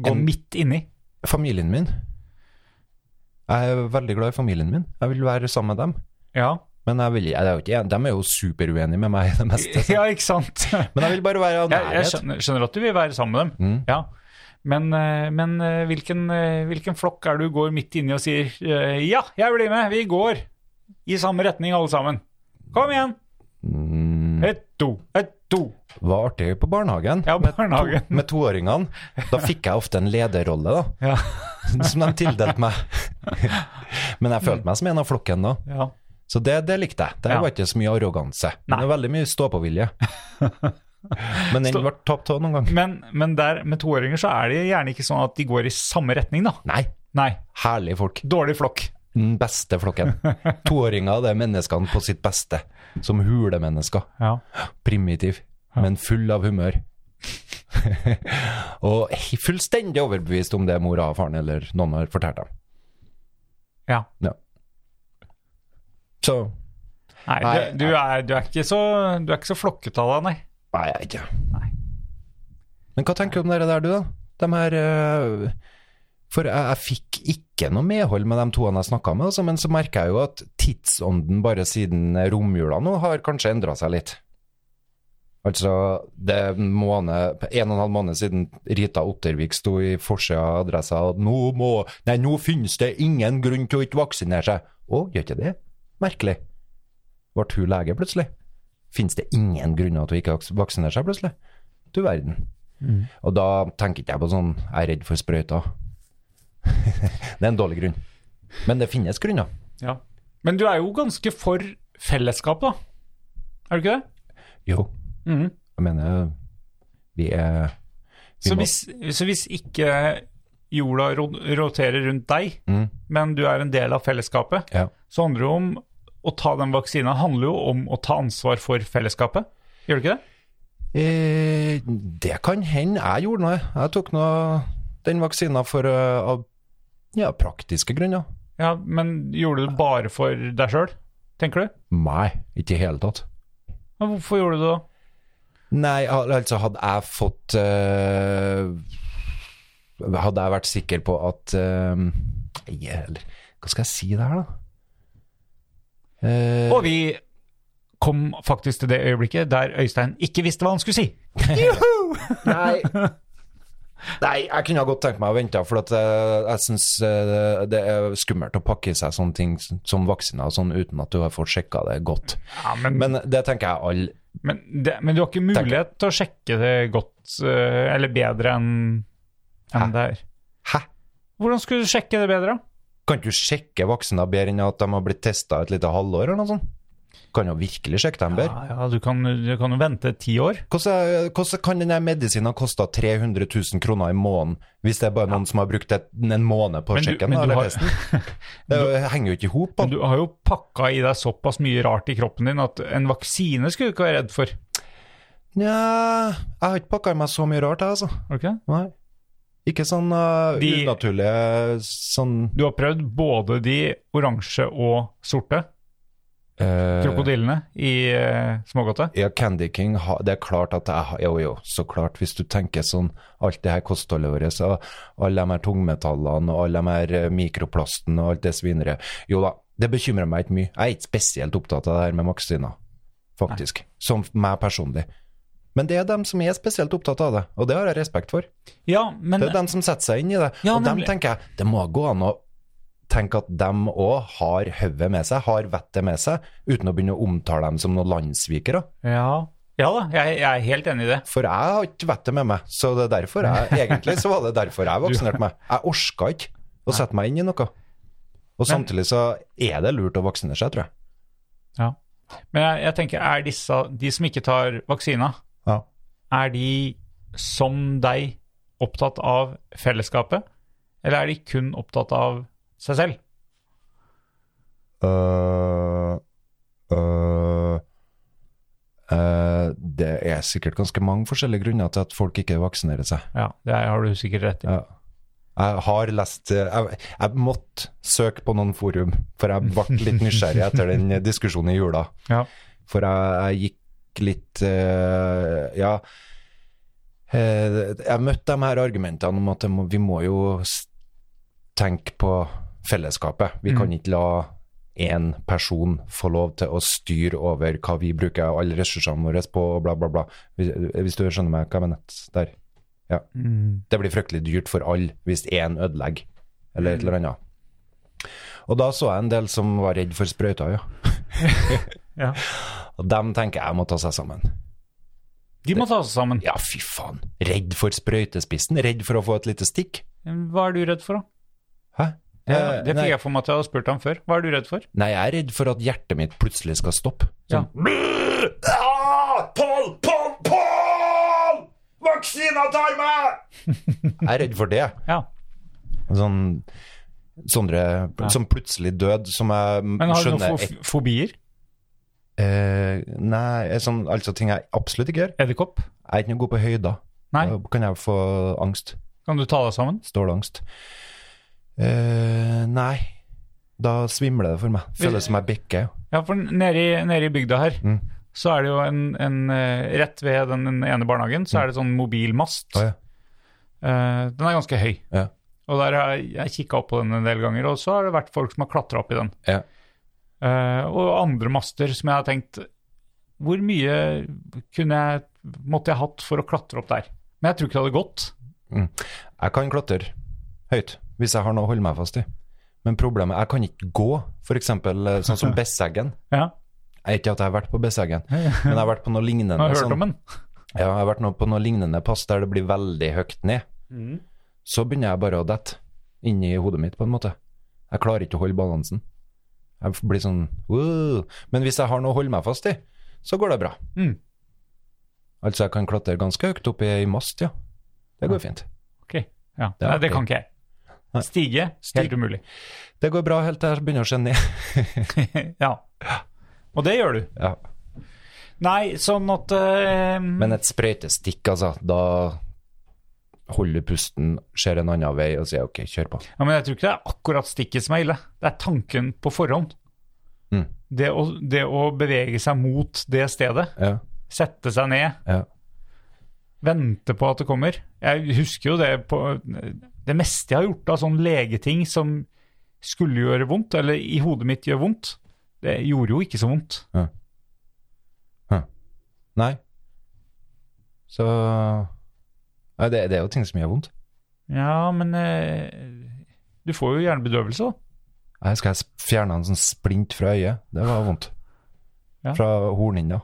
Speaker 4: gå
Speaker 2: En-
Speaker 4: midt inni.
Speaker 2: familien min. Jeg er veldig glad i familien min. Jeg vil være sammen med dem.
Speaker 4: Ja.
Speaker 2: Men jeg vil, jeg er jo ikke, de er jo superuenige med meg i det meste.
Speaker 4: ja, ikke sant? Jeg,
Speaker 2: Men jeg vil bare være av
Speaker 4: jeg
Speaker 2: nærhet.
Speaker 4: skjønner, skjønner at du vil være sammen med dem.
Speaker 2: Mm.
Speaker 4: Ja. Men, eh, men eh, hvilken, eh, hvilken flokk er det du går midt inni og sier eh, Ja, jeg blir med, vi går i samme retning alle sammen. Kom igjen! Et, to, et, to.
Speaker 2: Mm. Var artig på barnehagen
Speaker 4: Ja, barnehagen.
Speaker 2: med toåringene. Da fikk jeg ofte en lederrolle, da,
Speaker 4: Ja.
Speaker 2: som de tildelte meg. Men jeg følte meg som en av flokken da.
Speaker 4: ja.
Speaker 2: Så det, det likte jeg. Der
Speaker 4: Ja.
Speaker 2: var ikke så mye arroganse. Men det var veldig mye stå-på-vilje. Men den
Speaker 4: Stå-
Speaker 2: ble tapt òg noen gang.
Speaker 4: Men, men der, med toåringer så er det gjerne ikke sånn at de går i samme retning, da.
Speaker 2: Nei,
Speaker 4: Nei.
Speaker 2: herlige folk.
Speaker 4: Dårlig flokk.
Speaker 2: den beste flokken. Toåringer det er menneskene på sitt beste. Som hulemennesker.
Speaker 4: Ja.
Speaker 2: Primitiv, men full av humør. og he- fullstendig overbevist om det mora og faren eller noen har fortalt dem.
Speaker 4: Ja.
Speaker 2: Ja. Så
Speaker 4: Nei,
Speaker 2: Nei,
Speaker 4: du, du, er, du, er ikke så, du er ikke så flokket av deg, nei.
Speaker 2: Nei, jeg er ikke.
Speaker 4: Nei.
Speaker 2: Men hva tenker du om dere der, du, da? De her eh, For jeg, jeg fikk ikke noe medhold med de toene jeg snakka med, altså, men så merker jeg jo at tidsånden bare siden romjula nå har kanskje endra seg litt. Altså, det er en måned, en og en halv måned siden Rita Ottervik sto i forsida av adressa at nå må Nei, nå finnes det ingen grunn til å ikke vaksinere seg. Å, gjør ikke det? Merkelig. Ble hun lege plutselig? Finnes det ingen grunner til å ikke vaks- vaksinere seg plutselig? Du verden.
Speaker 4: Mm.
Speaker 2: Og da tenker ikke jeg på sånn Jeg er redd for sprøyter. det er en dårlig grunn. Men det finnes grunner.
Speaker 4: Ja. Men du er jo ganske for fellesskap, da. Er du ikke det?
Speaker 2: Jo,
Speaker 4: Mhm.
Speaker 2: jeg mener Vi er vi
Speaker 4: Så,
Speaker 2: må-
Speaker 4: hvis, så hvis ikke jorda ro- roterer rundt deg,
Speaker 2: Mm,
Speaker 4: men du er en del av fellesskapet,
Speaker 2: ja.
Speaker 4: så handler det om å ta den vaksina handler jo om å ta ansvar for fellesskapet. Gjør det ikke det?
Speaker 2: Eh, det kan hende jeg gjorde noe. Jeg tok nå den vaksina for eh, av ja, praktiske grunner.
Speaker 4: Ja, Men gjorde du det bare for deg sjøl, tenker du?
Speaker 2: Nei, ikke i det hele tatt.
Speaker 4: Ja, Hvorfor gjorde du det da?
Speaker 2: Nei, al- altså hadde jeg fått eh, Hadde jeg vært sikker på at eh, jeg- eller, Hva skal jeg si der, da? Eh,
Speaker 4: Og vi kom faktisk til det øyeblikket der Øystein ikke visste hva han skulle si.
Speaker 2: nei. nei, jeg kunne ha godt tenkt meg å vente, for at eh, jeg syns eh, det er skummelt å pakke i seg sånne ting s- som vaksiner og sånn uten at du har fått sjekka det godt.
Speaker 4: Ja, men, men,
Speaker 2: Men det tenker jeg alle
Speaker 4: det, men du har ikke mulighet til å sjekke det godt, eh, eller bedre enn enn det her.
Speaker 2: Hæ?
Speaker 4: Hvordan skulle du sjekke det bedre? da?
Speaker 2: Kan du sjekke vaksiner bedre enn at de har blitt testa et lite halvår eller noe sånt? Kan jo virkelig sjekke dem bedre.
Speaker 4: Ja, ja, du, kan, du kan jo vente ti år.
Speaker 2: Hvordan, hvordan kan denne medisinen koste 300 000 kroner i måneden hvis det er bare noen som har brukt et, en måned på å
Speaker 4: Men du-
Speaker 2: sjekke den?
Speaker 4: men du
Speaker 2: eller
Speaker 4: har-
Speaker 2: testen? Det er jo- henger jo ikke i hop.
Speaker 4: Men du har jo pakka i deg såpass mye rart i kroppen din at en vaksine skulle du ikke være redd for.
Speaker 2: Nja, jeg har ikke pakka i meg så mye rart, jeg, altså.
Speaker 4: Har du ikke det?
Speaker 2: Nei. Ikke sånn uh,
Speaker 4: De-
Speaker 2: unaturlige sånn
Speaker 4: Du har prøvd både de oransje og sorte
Speaker 2: eh,
Speaker 4: krokodillene i uh, smågodtet.
Speaker 2: Ja, Candy King, ha- det er klart at jeg har Jo, jo, så klart. Hvis du tenker sånn Alt det her kostholdet vårt, så alle de her tungmetallene og alle de her eh, mikroplasten og alt det svineriet Jo da, det bekymrer meg ikke mye. Jeg er ikke spesielt opptatt av det her med vaksiner, faktisk. Som meg personlig. Men det er dem som er spesielt opptatt av det, og det har jeg respekt for.
Speaker 4: Ja, men
Speaker 2: Det er dem som setter seg inn i det.
Speaker 4: Ja,
Speaker 2: og dem
Speaker 4: nemlig.
Speaker 2: tenker jeg, det må gå an å tenke at dem òg har hodet med seg, har vettet med seg, uten å begynne å omtale dem som noen landssvikere.
Speaker 4: Ja, ja da, jeg, jeg er helt enig i det.
Speaker 2: For jeg har ikke vettet med meg, så det er derfor jeg, egentlig så var det derfor jeg vaksinerte meg. Jeg orka ikke å sette meg inn i noe. Og
Speaker 4: Men-
Speaker 2: samtidig så er det lurt å vaksinere seg, tror jeg.
Speaker 4: Men jeg, jeg tenker, er disse, de som ikke tar vaksina,
Speaker 2: Ja.
Speaker 4: er de som deg opptatt av fellesskapet, eller er de kun opptatt av seg selv?
Speaker 2: Øh, øh, det er sikkert ganske mange forskjellige grunner til at folk ikke vaksinerer seg.
Speaker 4: Ja, det er- har du sikkert rett i.
Speaker 2: Ja. Jeg har lest eh, jeg, jeg måtte søke på noen forum, for jeg ble litt nysgjerrig etter den diskusjonen i jula.
Speaker 4: Ja.
Speaker 2: For jeg, jeg gikk litt eh, Ja. eh, jeg møtte de her argumentene om at det må, vi må jo s- tenke på fellesskapet. Vi kan ikke la én person få lov til å styre over hva vi bruker alle ressursene våre på, og bla, bla, bla. Hvis, hvis du skjønner meg hva jeg mener der.
Speaker 4: Mm.
Speaker 2: Det blir fryktelig dyrt for alle hvis én ødelegger, eller
Speaker 4: Mm.
Speaker 2: et eller annet. Og da så jeg en del som var redd for sprøyter, ja.
Speaker 4: Ja.
Speaker 2: Og dem tenker jeg må ta seg sammen.
Speaker 4: De må ta seg sammen.
Speaker 2: Ja, fy faen. Redd for sprøytespissen? Redd for å få et lite stikk?
Speaker 4: Hva er du redd for, da?
Speaker 2: Hæ?
Speaker 4: Det, det
Speaker 2: Eh, nei,
Speaker 4: fikk jeg for meg at jeg hadde spurt ham før. Hva er du redd for?
Speaker 2: nei, jeg er redd for at hjertet mitt plutselig skal stoppe.
Speaker 4: Ja.
Speaker 2: Sånn. Ah, Pål, Pål, Pål! Vaksina tar meg! Jeg er redd for det.
Speaker 4: Ja.
Speaker 2: Sånn Sondre som plutselig død, som jeg mm,
Speaker 4: Men har du
Speaker 2: skjønner
Speaker 4: noen fo fobier?
Speaker 2: Eh, nei, sånn, altså ting jeg absolutt ikke gjør.
Speaker 4: Edderkopp?
Speaker 2: Jeg er ikke noe god på høyder.
Speaker 4: Nei.
Speaker 2: Da kan jeg få angst.
Speaker 4: Kan du ta deg sammen?
Speaker 2: Stålangst. Eh, nei. Da svimler det for meg. Føles som jeg bikker.
Speaker 4: Ja, for nede i, nede i bygda her,
Speaker 2: Mm.
Speaker 4: så er det jo en, en eh, Rett ved den, den ene barnehagen, så er det sånn mobilmast.
Speaker 2: Mm. Å, ja.
Speaker 4: Eh, den er ganske høy.
Speaker 2: Ja.
Speaker 4: Og der har jeg, jeg kikka opp på den en del ganger, og så har det vært folk som har klatra opp i den.
Speaker 2: Ja.
Speaker 4: Eh, og andre master som jeg har tenkt Hvor mye kunne jeg, måtte jeg hatt for å klatre opp der? Men jeg tror ikke det hadde gått.
Speaker 2: Jeg kan klatre høyt hvis jeg har noe å holde meg fast i. Men problemet jeg kan ikke gå, f.eks. sånn som Besseggen.
Speaker 4: Ja.
Speaker 2: Jeg vet ikke at jeg har vært på Besseggen, men jeg har vært på noe lignende.
Speaker 4: Jeg har hørt
Speaker 2: sånn-
Speaker 4: om den.
Speaker 2: Ja, jeg har vært nå på noe lignende pass der det blir veldig høyt ned. Så begynner jeg bare å dette inni hodet mitt, på en måte. Jeg klarer ikke å holde balansen. Jeg f- blir sånn «Wow». Men hvis jeg har noe å holde meg fast i, så går det bra.
Speaker 4: Mm.
Speaker 2: Altså, jeg kan klatre ganske høyt opp i ei mast, ja. Det går fint.
Speaker 4: Ok, ja.
Speaker 2: Det er
Speaker 4: Nei, det
Speaker 2: artig.
Speaker 4: kan ikke jeg.
Speaker 2: Nei.
Speaker 4: Stige?
Speaker 2: Stig-
Speaker 4: Helt umulig.
Speaker 2: Det går bra helt til jeg begynner å se ned.
Speaker 4: ja. Og det gjør du.
Speaker 2: Ja.
Speaker 4: Nei, sånn at eh,
Speaker 2: Men et sprøytestikk, altså. Da holder du pusten, ser en annen vei og sier OK, kjør på.
Speaker 4: ja, Men jeg tror ikke det er akkurat stikket som er ille. Det er tanken på forhånd.
Speaker 2: Mm.
Speaker 4: Det, å, det å bevege seg mot det stedet.
Speaker 2: Ja,
Speaker 4: Sette seg ned.
Speaker 2: ja.
Speaker 4: Vente på at det kommer. Jeg husker jo det på Det meste jeg har gjort av sånne legeting som skulle gjøre vondt, eller i hodet mitt gjør vondt, det gjorde jo ikke så vondt.
Speaker 2: Nei. Så Nei, det, det er jo ting som gjør vondt.
Speaker 4: Ja, men eh, du får jo hjernebedøvelse, da.
Speaker 2: Nei, skal jeg s- fjerne en sånn splint fra øyet? Det var vondt.
Speaker 4: Ja.
Speaker 2: Fra hornhinna.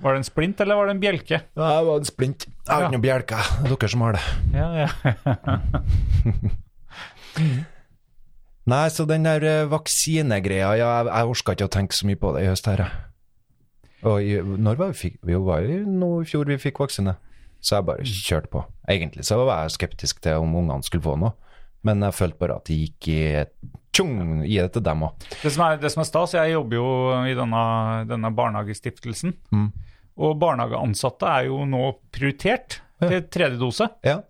Speaker 4: Var det en splint, eller var det en bjelke?
Speaker 2: Nei, det var en splint. Jeg har
Speaker 4: Ja.
Speaker 2: ikke noe bjelke. Det er dere som har det.
Speaker 4: Ja, ja.
Speaker 2: Nei, så den der eh, vaksinegreia ja, Jeg, jeg orka ikke å tenke så mye på det i høst her, jeg. Og i, når var vi fikk Vi var jo nå i fjor vi fikk vaksine. Så jeg
Speaker 4: Mm.
Speaker 2: bare kjørte på. Egentlig så var jeg skeptisk til om ungene skulle få noe, men jeg følte bare at det gikk i tjong, gi det til dem òg.
Speaker 4: Det som er, det som er stas, jeg jobber jo i denne, denne barnehagestiftelsen,
Speaker 2: Mm.
Speaker 4: og barnehageansatte er jo nå prioritert til tredje dose,
Speaker 2: Ja,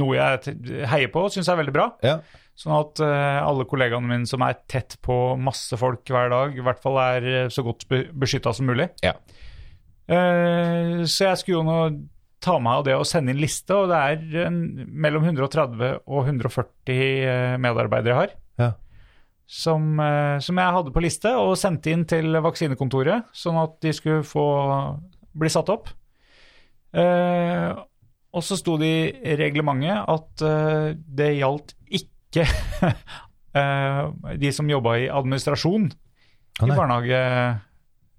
Speaker 4: noe jeg t- heier på og syns er veldig bra.
Speaker 2: ja.
Speaker 4: Sånn at eh, alle kollegaene mine som er tett på masse folk hver dag, i hvert fall er eh, så godt beskytta som mulig.
Speaker 2: Ja.
Speaker 4: Eh, så jeg skulle jo nå ta meg av det og sende inn liste, og det er en, mellom 130 og 140 eh, medarbeidere jeg har.
Speaker 2: Ja.
Speaker 4: Som, eh, som jeg hadde på liste og sendte inn til vaksinekontoret, sånn at de skulle få bli satt opp. Eh, og så sto det i reglementet at eh, det gjaldt ikke eh, de som jobba i administrasjon
Speaker 2: Å,
Speaker 4: i
Speaker 2: nei.
Speaker 4: barnehage,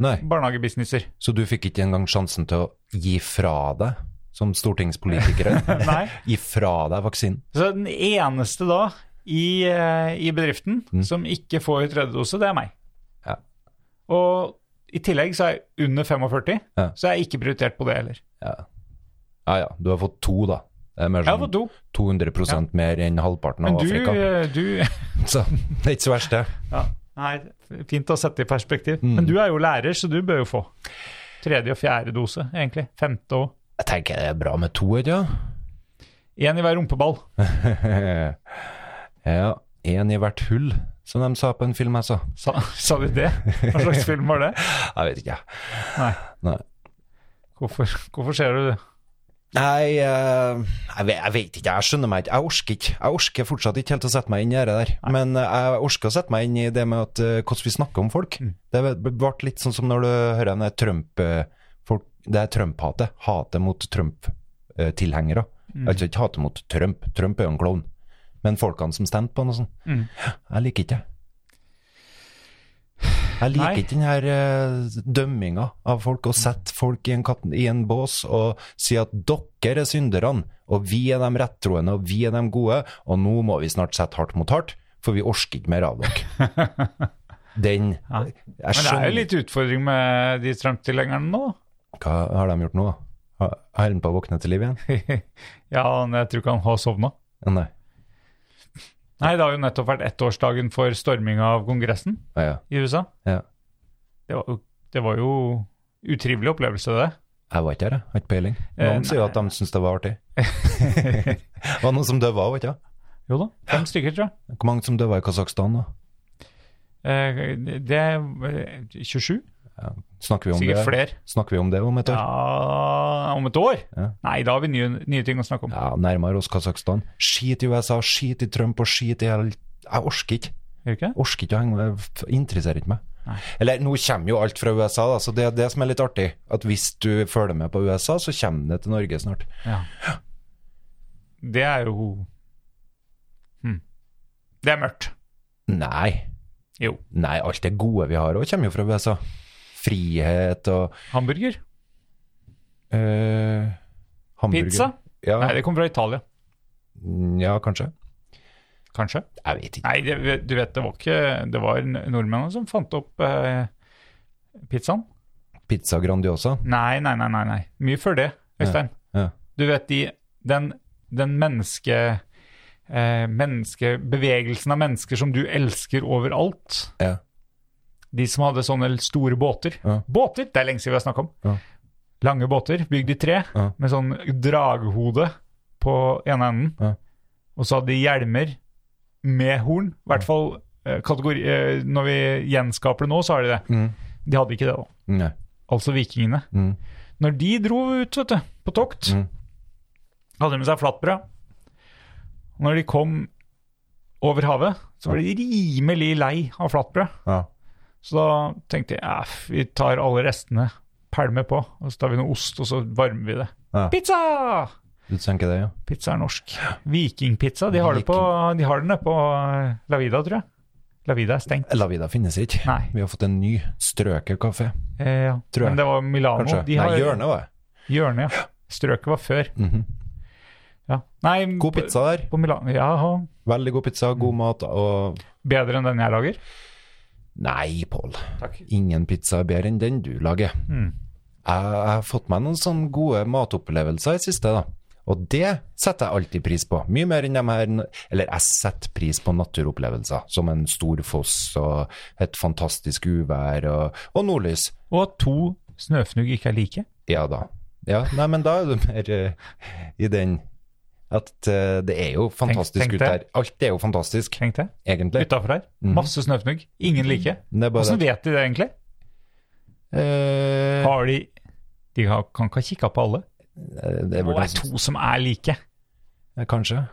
Speaker 2: Nei.
Speaker 4: barnehagebusinesser.
Speaker 2: Så du fikk ikke engang sjansen til å gi fra deg, som stortingspolitikere,
Speaker 4: Nei.
Speaker 2: gi fra deg vaksinen?
Speaker 4: Så den eneste da i, eh, i bedriften som ikke får tredje dose, det er meg.
Speaker 2: Mm. Ja.
Speaker 4: Og i tillegg så er jeg under 45,
Speaker 2: Ja.
Speaker 4: så jeg er ikke prioritert på det heller.
Speaker 2: Ja. ja ja, du har fått to, da. Det er mer
Speaker 4: Jeg har fått
Speaker 2: sånn
Speaker 4: to.
Speaker 2: 200 mer enn halvparten
Speaker 4: Men
Speaker 2: av
Speaker 4: du,
Speaker 2: Afrika.
Speaker 4: eh, du
Speaker 2: Så det er ikke så verst, det.
Speaker 4: ja, Nei, fint å sette i perspektiv.
Speaker 2: Mm.
Speaker 4: Men du er jo lærer, så du bør jo få tredje og fjerde dose, egentlig. Femte og
Speaker 2: Jeg tenker det er bra med to, ikke
Speaker 4: Én i hver rumpeball.
Speaker 2: sant? ja. Én i hvert hull, som de sa på en film jeg så.
Speaker 4: Sa, sa du det? Hva slags film var det?
Speaker 2: Jeg vet ikke, jeg.
Speaker 4: Nei.
Speaker 2: Nei.
Speaker 4: Hvorfor, hvorfor ser du det?
Speaker 2: Nei, eh, jeg vet, jeg vet ikke, jeg skjønner meg ikke. Jeg orker ikke. Jeg orker fortsatt ikke helt å sette meg inn i det der. Men eh, jeg orker å sette meg inn i det med at, eh, hvordan vi snakker om folk. Det ble litt sånn som når du hører den der Trump, eh, folk, det er Trump-hatet. Hatet mot Trump-tilhengere. Altså ikke hatet mot Trump, Trump er jo en klovn. Men folkene som stemte på han og sånn.
Speaker 4: Mm.
Speaker 2: Jeg liker ikke det. Jeg liker
Speaker 4: Nei.
Speaker 2: ikke den her eh, dømminga av folk, å sette folk i en, katt, i en bås og si at dere er synderne, og vi er de rettroende, og vi er de gode, og nå må vi snart sette hardt mot hardt, for vi orker ikke mer av dere. Den jeg
Speaker 4: Men det er
Speaker 2: skjønner-
Speaker 4: jo litt utfordring med de Trump-tilhengerne nå.
Speaker 2: Hva har de gjort nå, da? Har- Har han på å våkne til liv igjen?
Speaker 4: ja, men jeg tror ikke han har sovna.
Speaker 2: Nei.
Speaker 4: Nei, det har jo nettopp vært ettårsdagen for storminga av Kongressen
Speaker 2: Ja, ja.
Speaker 4: i USA.
Speaker 2: Ja.
Speaker 4: Det var, jo- det var jo utrivelig opplevelse, det.
Speaker 2: Jeg var ikke her, jeg. Har ikke peiling.
Speaker 4: Eh,
Speaker 2: Noen sier jo at de syns det var artig. det var noen som døva òg, ikke sant?
Speaker 4: Jo da, fem stykker, tror jeg.
Speaker 2: Hvor mange som døva i Kasakhstan, da?
Speaker 4: Eh, Det er eh, 27?
Speaker 2: Snakker vi om
Speaker 4: Sikkert
Speaker 2: det?
Speaker 4: flere.
Speaker 2: Snakker vi om det om et år?
Speaker 4: Ja, om et år?
Speaker 2: Ja.
Speaker 4: Nei, da har vi nye, nye ting å snakke om.
Speaker 2: Ja, nærmere oss Kasakhstan. Skit i USA, skit i Trump og skit i hele Jeg orker ikke.
Speaker 4: Gjør ikke det?
Speaker 2: Orker ikke å henge med. f- Interesserer ikke meg.
Speaker 4: Nei.
Speaker 2: Eller nå kommer jo alt fra USA, da, så det er det som er litt artig. At hvis du følger med på USA, så kommer det til Norge snart.
Speaker 4: Ja. Det er jo hm. Det er mørkt.
Speaker 2: Nei.
Speaker 4: Jo.
Speaker 2: Nei, alt det gode vi har òg, kommer jo fra USA. Frihet og
Speaker 4: Hamburger?
Speaker 2: eh, hamburger.
Speaker 4: Pizza?
Speaker 2: Ja,
Speaker 4: Nei, det kommer fra Italia.
Speaker 2: ja, kanskje.
Speaker 4: Kanskje?
Speaker 2: Jeg vet ikke.
Speaker 4: Nei, det, du vet, det var ikke Det var nordmennene som fant opp eh, pizzaen.
Speaker 2: Pizza Grandiosa.
Speaker 4: Nei, nei, nei, nei. nei. Mye før det, Øystein.
Speaker 2: Ja.
Speaker 4: Du vet de Den, den menneske... Eh, menneske, bevegelsen av mennesker som du elsker overalt.
Speaker 2: Ja.
Speaker 4: De som hadde sånne store båter.
Speaker 2: Ja.
Speaker 4: Båter! Det er lenge siden vi har snakket om.
Speaker 2: Ja.
Speaker 4: Lange båter, bygd i tre,
Speaker 2: Ja.
Speaker 4: med sånn draghode på ene enden.
Speaker 2: Ja.
Speaker 4: Og så hadde de hjelmer med horn. I hvert fall eh, kategori, eh, når vi gjenskaper det nå, så har de det.
Speaker 2: Mm.
Speaker 4: De hadde ikke det da.
Speaker 2: Nei.
Speaker 4: Altså vikingene.
Speaker 2: Mm.
Speaker 4: Når de dro ut, vet du, på tokt,
Speaker 2: Mm.
Speaker 4: hadde de med seg flatbrød. Og Når de kom over havet, så ble de rimelig lei av flatbrød.
Speaker 2: Ja.
Speaker 4: Så da tenkte jeg "Ja, f- vi tar alle restene, pælmer på, og så tar vi noe ost, og så varmer vi det.
Speaker 2: Ja.
Speaker 4: Pizza!
Speaker 2: Du tenker det, ja?
Speaker 4: Pizza er norsk. Vikingpizza. De har det, på, de har det nede på eh, La Vida, tror jeg. La Vida er stengt.
Speaker 2: La Vida finnes ikke.
Speaker 4: Nei.
Speaker 2: Vi har fått en ny strøkerkafé.
Speaker 4: Eh, ja.
Speaker 2: Tror jeg.
Speaker 4: Men det var Milano.
Speaker 2: Kanskje.
Speaker 4: De har,
Speaker 2: Nei, hjørnet var det.
Speaker 4: Hjørnet, ja. Strøket var før.
Speaker 2: Mhm.
Speaker 4: Ja. Nei,
Speaker 2: God
Speaker 4: på-
Speaker 2: pizza der.
Speaker 4: På Milano. Ja, og
Speaker 2: Veldig god pizza, god mat og
Speaker 4: bedre enn den jeg lager.
Speaker 2: Nei, Pål.
Speaker 4: Takk.
Speaker 2: Ingen pizza er bedre enn den du lager.
Speaker 4: Mm.
Speaker 2: Jeg jeg har fått meg noen sånne gode matopplevelser i siste, da. Og det setter jeg alltid pris på. Mye mer enn de her Eller jeg setter pris på naturopplevelser, som en stor foss og et fantastisk uvær og, og nordlys.
Speaker 4: Og at to snøfnugg ikke er like.
Speaker 2: Ja da. Ja, nei, men da er du mer eh, i den at eh, det er jo fantastisk
Speaker 4: tenk
Speaker 2: ut
Speaker 4: det.
Speaker 2: der. Alt er jo fantastisk,
Speaker 4: Tenk det.
Speaker 2: egentlig.
Speaker 4: Utafor her.
Speaker 2: Mhm.
Speaker 4: Masse snøfnugg. Ingen like.
Speaker 2: Det er bare
Speaker 4: Åssen
Speaker 2: det.
Speaker 4: vet de det, egentlig?
Speaker 2: Eh,
Speaker 4: Har de De har, kan ikke ha kikka på alle.
Speaker 2: det
Speaker 4: Det
Speaker 2: burde
Speaker 4: er
Speaker 2: jeg
Speaker 4: to som er like.
Speaker 2: Ja, Kanskje.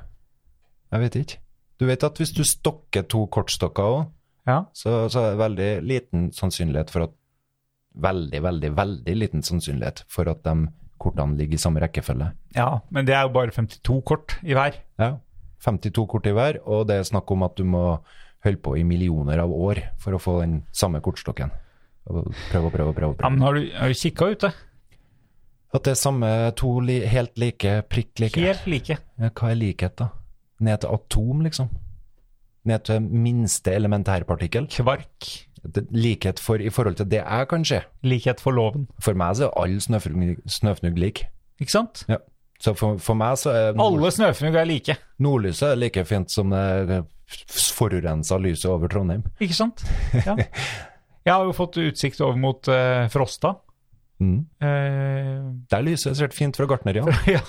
Speaker 2: Jeg vet ikke. Du vet at hvis du stokker to kortstokker òg,
Speaker 4: Ja.
Speaker 2: så, så er det veldig liten sannsynlighet for at Veldig, veldig, veldig liten sannsynlighet for at de kortene ligger i samme rekkefølge.
Speaker 4: ja, men det er jo bare 52 kort i hver.
Speaker 2: Ja. 52 kort i hver, og det er snakk om at du må holde på i millioner av år for å få den samme kortstokken. Og Prøve og prøve og prøve. og
Speaker 4: Ja, men
Speaker 2: prøve.
Speaker 4: har du, har du kikka ute?
Speaker 2: At det er samme to li helt like, prikk like.
Speaker 4: Helt like.
Speaker 2: Ja, hva er likhet, da? Ned til atom, liksom? Ned til minste elementærpartikkel?
Speaker 4: Kvark.
Speaker 2: Det- Likhet for, i forhold til det jeg kan se.
Speaker 4: Likhet for loven.
Speaker 2: For meg så er alle snøfnugg, snøfnugg lik.
Speaker 4: Ikke sant?
Speaker 2: Ja. Så for, for meg så er nord,
Speaker 4: Alle snøfnugg er like.
Speaker 2: nordlyset er like fint som det forurensa lyset over Trondheim.
Speaker 4: Ikke sant? Ja. Jeg har jo fått utsikt over mot eh, Frosta.
Speaker 2: Mm.
Speaker 4: Eh,
Speaker 2: Der lyset er svært fint fra gartneriet.
Speaker 4: ja,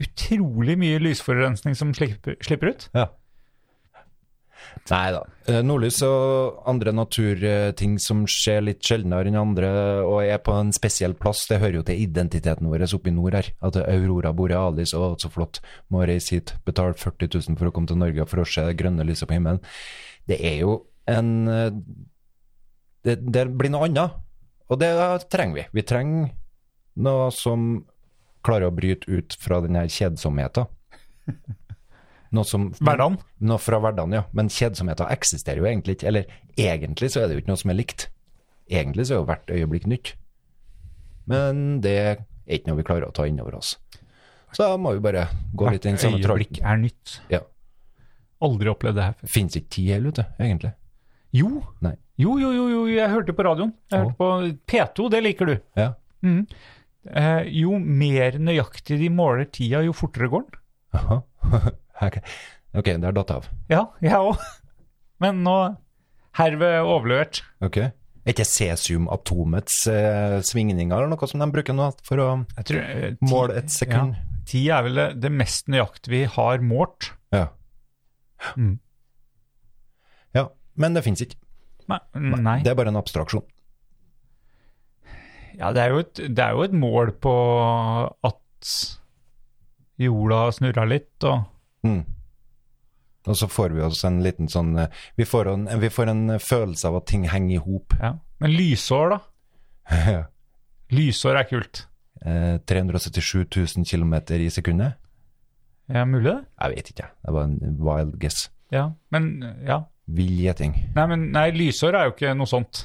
Speaker 4: utrolig mye lysforurensning som slipper, slipper ut.
Speaker 2: Ja. Nei da. Eh, Nordlys og andre naturting som skjer litt sjeldnere enn andre, og er på en spesiell plass, det hører jo til identiteten vår oppe i nord her. At det er Aurora borealis, å, så flott, må reise hit, betale 40 000 for å komme til Norge for å se det grønne lyset på himmelen. Det er jo en eh, Det, det blir noe annet, og det trenger vi. Vi trenger noe som klarer å bryte ut fra den her kjedsomheten. Noe som
Speaker 4: Hverdagen.
Speaker 2: noe fra hverdagen, ja. Men kjedsomheten eksisterer jo egentlig ikke. Eller egentlig så er det jo ikke noe som er likt. Egentlig så er jo hvert øyeblikk nytt. Men det er ikke noe vi klarer å ta innover oss. Så da må vi bare gå litt i den samme trollen.
Speaker 4: øyeblikk er nytt.
Speaker 2: Ja.
Speaker 4: Aldri opplevd det her før.
Speaker 2: Fins ikke tid heller, vet du, egentlig.
Speaker 4: Jo.
Speaker 2: Nei.
Speaker 4: Jo, jo, jo, jo, jeg hørte på radioen. Jeg hørte på P2, det liker du.
Speaker 2: Ja.
Speaker 4: Mhm. Eh, jo mer nøyaktig de måler tida, jo fortere går den.
Speaker 2: Aha. ok, Ok, det er datt av.
Speaker 4: Ja, jeg òg. Men nå herved overlevert.
Speaker 2: Ok. Er Er ikke cesiumatomets eh, svingninger eller noe som de bruker nå for å
Speaker 4: Jeg tror, eh, ti-
Speaker 2: måle et sekund?
Speaker 4: Ja. Ti er vel det, det mest nøyaktige vi har målt.
Speaker 2: Ja.
Speaker 4: Mm.
Speaker 2: ja. Men det fins ikke.
Speaker 4: Nei. Nei.
Speaker 2: Det er bare en abstraksjon.
Speaker 4: Ja, det er, jo et, det er jo et mål på at jorda snurra litt, og
Speaker 2: Mm. Og så får vi oss en liten sånn eh, Vi får en, vi får en følelse av at ting henger i hop.
Speaker 4: ja. Men lysår, da?
Speaker 2: Ja.
Speaker 4: Lysår er kult.
Speaker 2: Eh, 377 000 km i sekundet?
Speaker 4: Ja, mulig det?
Speaker 2: Jeg vet ikke, det var en wild guess.
Speaker 4: Ja. Men ja.
Speaker 2: Vill gjeting.
Speaker 4: Nei, men nei, lysår er jo ikke noe sånt.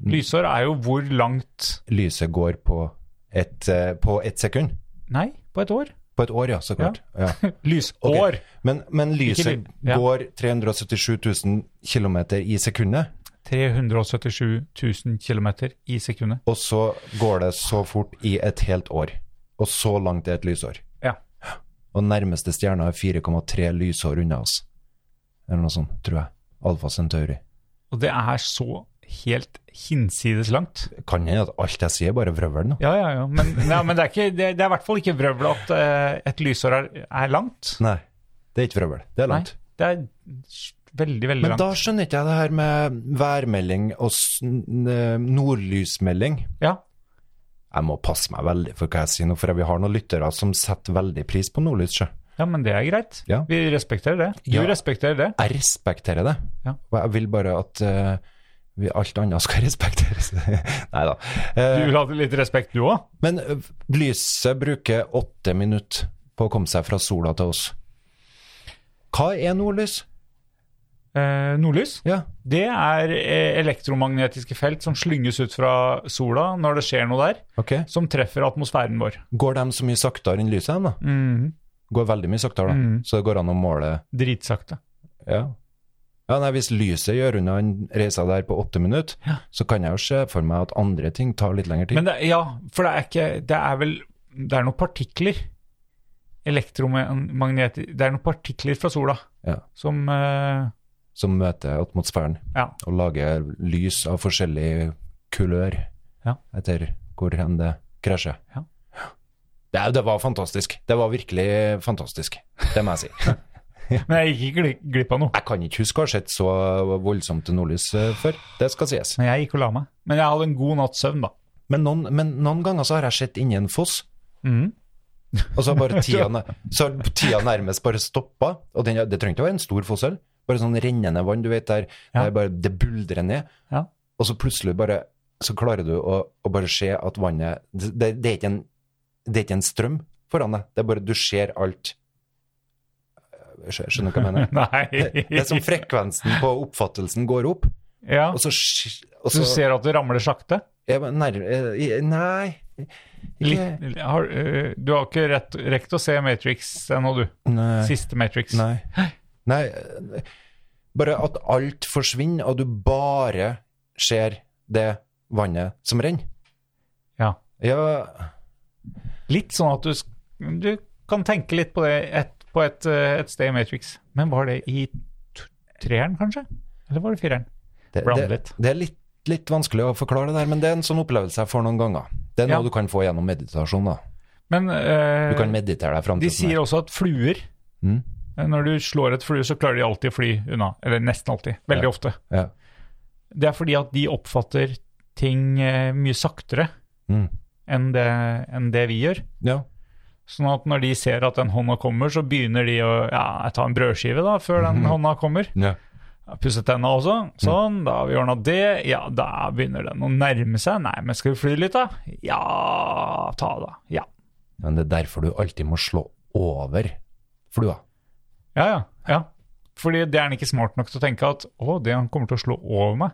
Speaker 2: Mm.
Speaker 4: Lysår er jo hvor langt
Speaker 2: Lyset går på et, eh, på et sekund.
Speaker 4: Nei, på et år.
Speaker 2: På et år, ja, så klart. Ja. Ok.
Speaker 4: Lysår.
Speaker 2: Men, men lyset
Speaker 4: ly- ja.
Speaker 2: går 377 000 km i sekundet,
Speaker 4: 377 000 km i sekundet.
Speaker 2: og så går det så fort i et helt år. Og så langt er et lysår.
Speaker 4: Ja.
Speaker 2: Og nærmeste stjerna er 4,3 lysår unna oss. Eller noe sånt, tror jeg. Alfa Centauri.
Speaker 4: Og det er så helt hinsides langt.
Speaker 2: Kan hende at alt jeg sier, er bare vrøvler nå.
Speaker 4: Ja, ja, ja. Men, nei, men det, er ikke, det, det er i hvert fall ikke vrøvl at eh, et lysår er, er langt.
Speaker 2: Nei, det er ikke vrøvl. Det er langt.
Speaker 4: Nei, det er veldig, veldig
Speaker 2: Men da
Speaker 4: langt.
Speaker 2: skjønner ikke jeg det her med værmelding og s- n- eh, nordlysmelding.
Speaker 4: Ja.
Speaker 2: Jeg må passe meg veldig for hva jeg sier nå, for vi har noen lyttere som setter veldig pris på nordlys. sjø.
Speaker 4: ja, men det er greit.
Speaker 2: Ja.
Speaker 4: Vi respekterer det. Du
Speaker 2: Ja.
Speaker 4: respekterer det.
Speaker 2: Jeg respekterer det.
Speaker 4: Ja.
Speaker 2: Og jeg vil bare at eh, vi, alt annet skal respekteres. Nei da.
Speaker 4: Du
Speaker 2: Eh,
Speaker 4: vil ha litt respekt, du òg?
Speaker 2: men eh, lyset bruker åtte minutter på å komme seg fra sola til oss. Hva er nordlys?
Speaker 4: Eh, nordlys?
Speaker 2: Ja,
Speaker 4: Det er eh, elektromagnetiske felt som slynges ut fra sola når det skjer noe der,
Speaker 2: ok.
Speaker 4: som treffer atmosfæren vår.
Speaker 2: Går de så mye saktere enn lyset, de da?
Speaker 4: Mhm.
Speaker 2: Går veldig mye saktere, da.
Speaker 4: Mhm.
Speaker 2: Så det går an å måle
Speaker 4: Dritsakte.
Speaker 2: Ja. ja nei, hvis lyset gjør unna en reise der på åtte minutter,
Speaker 4: Ja.
Speaker 2: så kan jeg jo se for meg at andre ting tar litt lengre tid.
Speaker 4: Men det, ja, for det er ikke Det er vel Det er noen partikler. Elektromagnet Det er noen partikler fra sola
Speaker 2: Ja.
Speaker 4: som eh,
Speaker 2: Som møter atmosfæren
Speaker 4: Ja.
Speaker 2: og lager lys av forskjellig kulør
Speaker 4: Ja.
Speaker 2: etter hvor hen det krasjer.
Speaker 4: Ja.
Speaker 2: Det, er- det var fantastisk. Det var virkelig fantastisk. Det må jeg si.
Speaker 4: Men jeg gikk ikke gli- glipp av noe.
Speaker 2: Jeg kan ikke huske å ha sett så voldsomt nordlys eh, før. Det skal sies.
Speaker 4: Men jeg gikk og la meg. Men jeg hadde en god natts søvn, da.
Speaker 2: Men noen, men noen ganger så har jeg sett inni en foss,
Speaker 4: Mhm.
Speaker 2: Og så har bare tida, så har tida nærmest bare stoppa. Og den, det trengte å være en stor fossel. Bare sånn rennende vann, du vet, der,
Speaker 4: Ja.
Speaker 2: der bare det buldrer ned.
Speaker 4: Ja.
Speaker 2: Og så plutselig bare så klarer du å, å bare se at vannet det, det, det, er ikke en, det er ikke en strøm foran deg. Det er bare du ser alt. Jeg skjø- Skjønner du hva jeg mener?
Speaker 4: Nei.
Speaker 2: Det det er som frekvensen på oppfattelsen går opp,
Speaker 4: ja.
Speaker 2: og så, sk- og
Speaker 4: Du
Speaker 2: så
Speaker 4: ser at det ramler sakte?
Speaker 2: jeg, bare nær, eh, Nei. Ikke-
Speaker 4: Litt, har, eh, du har ikke rett, rekt å se Matrix ennå, du.
Speaker 2: Nei.
Speaker 4: Siste Matrix.
Speaker 2: Nei. Nei. eh, Bare at alt forsvinner, og du bare ser det vannet som renner.
Speaker 4: Ja.
Speaker 2: Ja,
Speaker 4: Litt sånn at du, sk- du kan tenke litt på det et, på et, eh, et sted i Matrix. Men var det i t- treeren, kanskje? Eller var det fireren?
Speaker 2: det,
Speaker 4: Blande
Speaker 2: det,
Speaker 4: litt.
Speaker 2: det er litt, litt vanskelig å forklare det der, men det er en sånn opplevelse jeg får noen ganger. Det er
Speaker 4: Ja.
Speaker 2: noe du kan få gjennom meditasjon. da.
Speaker 4: Men eh,
Speaker 2: Du kan meditere deg fram
Speaker 4: de
Speaker 2: til sånn
Speaker 4: sier
Speaker 2: her.
Speaker 4: også at fluer
Speaker 2: Mm.
Speaker 4: eh, Når du slår et flue, så klarer de alltid å fly unna. Eller nesten alltid. Veldig
Speaker 2: Ja.
Speaker 4: ofte.
Speaker 2: Ja.
Speaker 4: Det er fordi at de oppfatter ting eh, mye saktere
Speaker 2: Mm.
Speaker 4: enn det, enn det vi gjør.
Speaker 2: ja.
Speaker 4: Sånn at når de ser at den hånda kommer, så begynner de å ja, jeg tar en brødskive da, før den hånda kommer.
Speaker 2: ja.
Speaker 4: Jeg har pusset tenna også. Sånn, da har vi ordna det. Ja, da begynner den å nærme seg. Nei, men skal vi fly litt, da? Ja, ta da. Ja.
Speaker 2: Men det er derfor du alltid må slå over flua.
Speaker 4: Ja, ja. ja. Fordi det er han ikke smart nok til å tenke at å, det han kommer til å slå over meg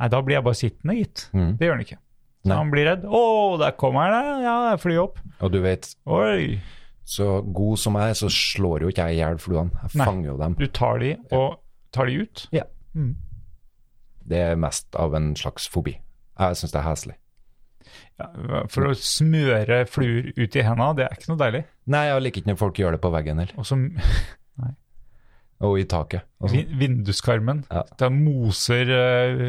Speaker 4: Nei, da blir jeg bare sittende, gitt.
Speaker 2: Mm.
Speaker 4: Det gjør han ikke. Så
Speaker 2: Nei.
Speaker 4: han blir redd. Å, der kommer han, ja, jeg flyr opp.
Speaker 2: Og du vet,
Speaker 4: Oi.
Speaker 2: så god som jeg er, så slår jo ikke jeg i hjel fluene. Jeg
Speaker 4: Nei.
Speaker 2: fanger jo dem.
Speaker 4: Du tar de og tar de ut.
Speaker 2: Ja.
Speaker 4: Mm.
Speaker 2: Det er mest av en slags fobi. Jeg syns det er heslig.
Speaker 4: Ja, for å smøre fluer ut i henda, det er ikke noe deilig.
Speaker 2: Nei, jeg liker ikke når folk gjør det på veggen heller.
Speaker 4: Og så Nei.
Speaker 2: og i taket. Og sånn.
Speaker 4: Vi- Vinduskarmen.
Speaker 2: Ja.
Speaker 4: Da moser eh,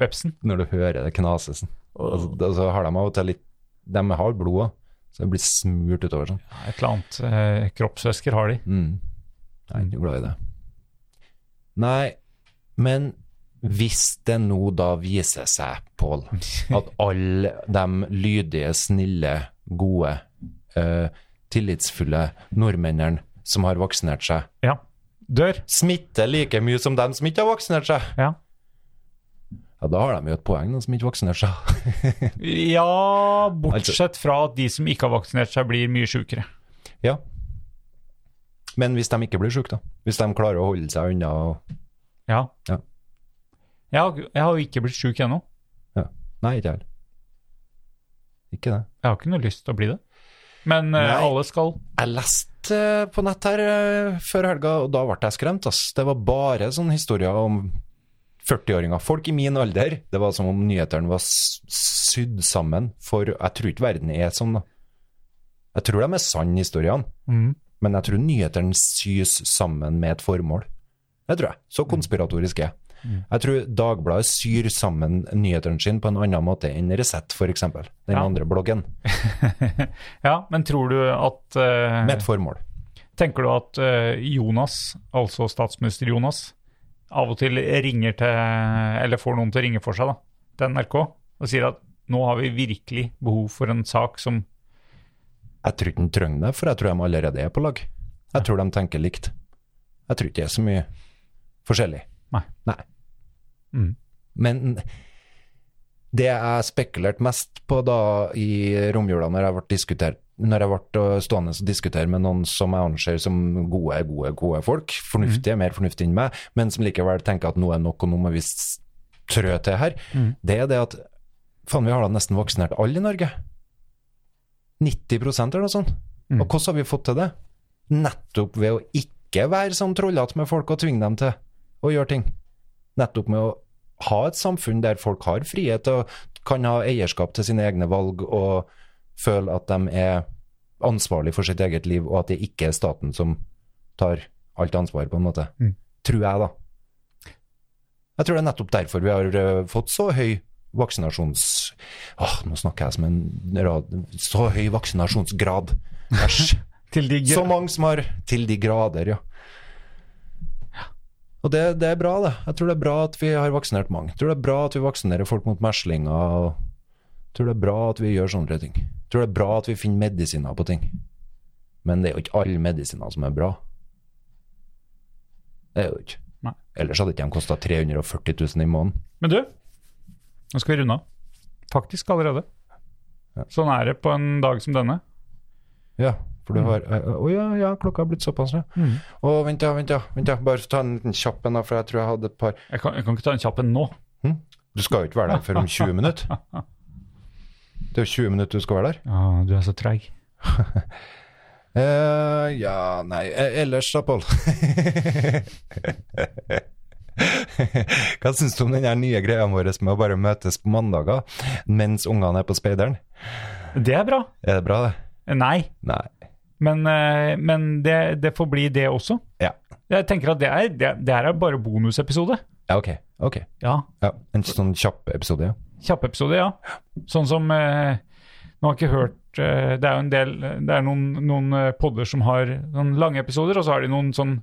Speaker 4: vepsen.
Speaker 2: Når du hører det knases. Og så, og så har de av og til litt De har blod òg, så det blir smurt utover sånn.
Speaker 4: Et eller annet. eh, Kroppsvæsker har de.
Speaker 2: Mm. Jeg er ikke glad i det. Nei, men hvis det nå da viser seg, Pål, at alle de lydige, snille, gode, eh, tillitsfulle nordmennene som har vaksinert seg,
Speaker 4: Ja. Dør.
Speaker 2: smitter like mye som dem som ikke har vaksinert seg,
Speaker 4: Ja.
Speaker 2: ja, da har de jo et poeng, de som ikke vaksinerer seg.
Speaker 4: ja, bortsett fra at de som ikke har vaksinert seg, blir mye sjukere.
Speaker 2: ja. Men hvis de ikke blir syke, da? Hvis de klarer å holde seg unna og
Speaker 4: Ja.
Speaker 2: Ja.
Speaker 4: Jeg har, jeg har jo ikke blitt sjuk ennå.
Speaker 2: ja. Nei, ikke jeg heller. Ikke det.
Speaker 4: Jeg har ikke noe lyst til å bli det. Men eh,
Speaker 2: Nei.
Speaker 4: alle skal.
Speaker 2: Jeg leste eh, på nett her eh, før helga, og da ble jeg skremt. Ass. Det var bare sånne historier om 40-åringer. Folk i min alder. Det var som om nyhetene var s- sydd sammen for Jeg tror ikke verden er sånn, da. Jeg tror de er sanne, historiene.
Speaker 4: Mm.
Speaker 2: Men jeg tror nyhetene sys sammen med et formål. Det tror jeg. Så
Speaker 4: Mm.
Speaker 2: konspiratorisk er jeg. Jeg tror Dagbladet syr sammen nyhetene sine på en annen måte enn Resett, f.eks. Den
Speaker 4: Ja.
Speaker 2: andre bloggen.
Speaker 4: Ja, men tror du at eh,
Speaker 2: Med et formål.
Speaker 4: Tenker du at eh, Jonas, altså statsminister Jonas, av og til ringer til Eller får noen til å ringe for seg, da, til NRK, og sier at nå har vi virkelig behov for en sak som
Speaker 2: Jeg tror ikke den trenger det, for jeg tror de allerede er på lag. Jeg tror de tenker likt. Jeg tror ikke det er så mye forskjellig.
Speaker 4: Nei. Mm.
Speaker 2: Men det jeg spekulerte mest på da i romjula, når jeg ble, diskutert- når jeg ble stående og diskutere med noen som jeg anser som gode, gode, gode folk, fornuftige,
Speaker 4: Mm.
Speaker 2: mer fornuftige enn meg, men som likevel tenker at nå er nok, og nå må vi s- trø til her,
Speaker 4: Mm.
Speaker 2: det er det at faen, vi har da nesten vaksinert alle i Norge. 90 eller noe sånt. Og hvordan har vi fått til det? Nettopp ved å ikke være sånn trollete med folk og tvinge dem til å gjøre ting. Nettopp med å ha et samfunn der folk har frihet og kan ha eierskap til sine egne valg og føle at de er ansvarlig for sitt eget liv, og at det ikke er staten som tar alt ansvar, på en måte. Tror jeg, da. Jeg tror det er nettopp derfor vi har eh, fått så høy vaksinasjons... Åh, nå snakker jeg som en rad... Så høy vaksinasjonsgrad. Æsj.
Speaker 4: til de
Speaker 2: Så mange som har Til de grader, ja. Og det, det er bra, det. Jeg tror det er bra at vi har vaksinert mange. Jeg tror det er bra at vi vaksinerer folk mot meslinger. og Jeg tror det er bra at vi gjør sånne ting. Jeg tror det er bra at vi finner medisiner på ting. Men det er jo ikke alle medisiner som er bra. Det er jo ikke.
Speaker 4: Nei.
Speaker 2: Ellers hadde ikke de kosta 340 000 i måneden.
Speaker 4: Men du, nå skal vi runde av. Faktisk allerede. Sånn er det på en dag som denne.
Speaker 2: Ja, for du har eh, Å ja, ja, klokka har blitt såpass, ja. Å, vent, ja, vent, ja. vent ja. Bare ta en liten kjapp en, da, for jeg tror jeg hadde et par
Speaker 4: Jeg kan, jeg kan ikke ta en kjapp en nå.
Speaker 2: Du skal jo ikke være der før om 20 minutter. Det er jo 20 minutter du skal være der.
Speaker 4: Ah, du er så treig.
Speaker 2: Eh, ja, nei eh, Ellers da, Pål? Hva syns du om den her nye greia vår med å bare møtes på mandager mens ungene er på speideren?
Speaker 4: Det er bra.
Speaker 2: Er det bra, det?
Speaker 4: Nei,
Speaker 2: Nei.
Speaker 4: men, eh, men det, det får bli det også.
Speaker 2: Ja,
Speaker 4: Jeg tenker at det er, det, det her er bare bonusepisode.
Speaker 2: ja ok. ok.
Speaker 4: Ja,
Speaker 2: Ja, en sånn kjapp episode, ja.
Speaker 4: Kjappepisode, ja. Sånn som eh, Nå har jeg ikke hørt eh, Det er jo en del Det er noen, noen eh, podder som har noen lange episoder, og så har de noen sånn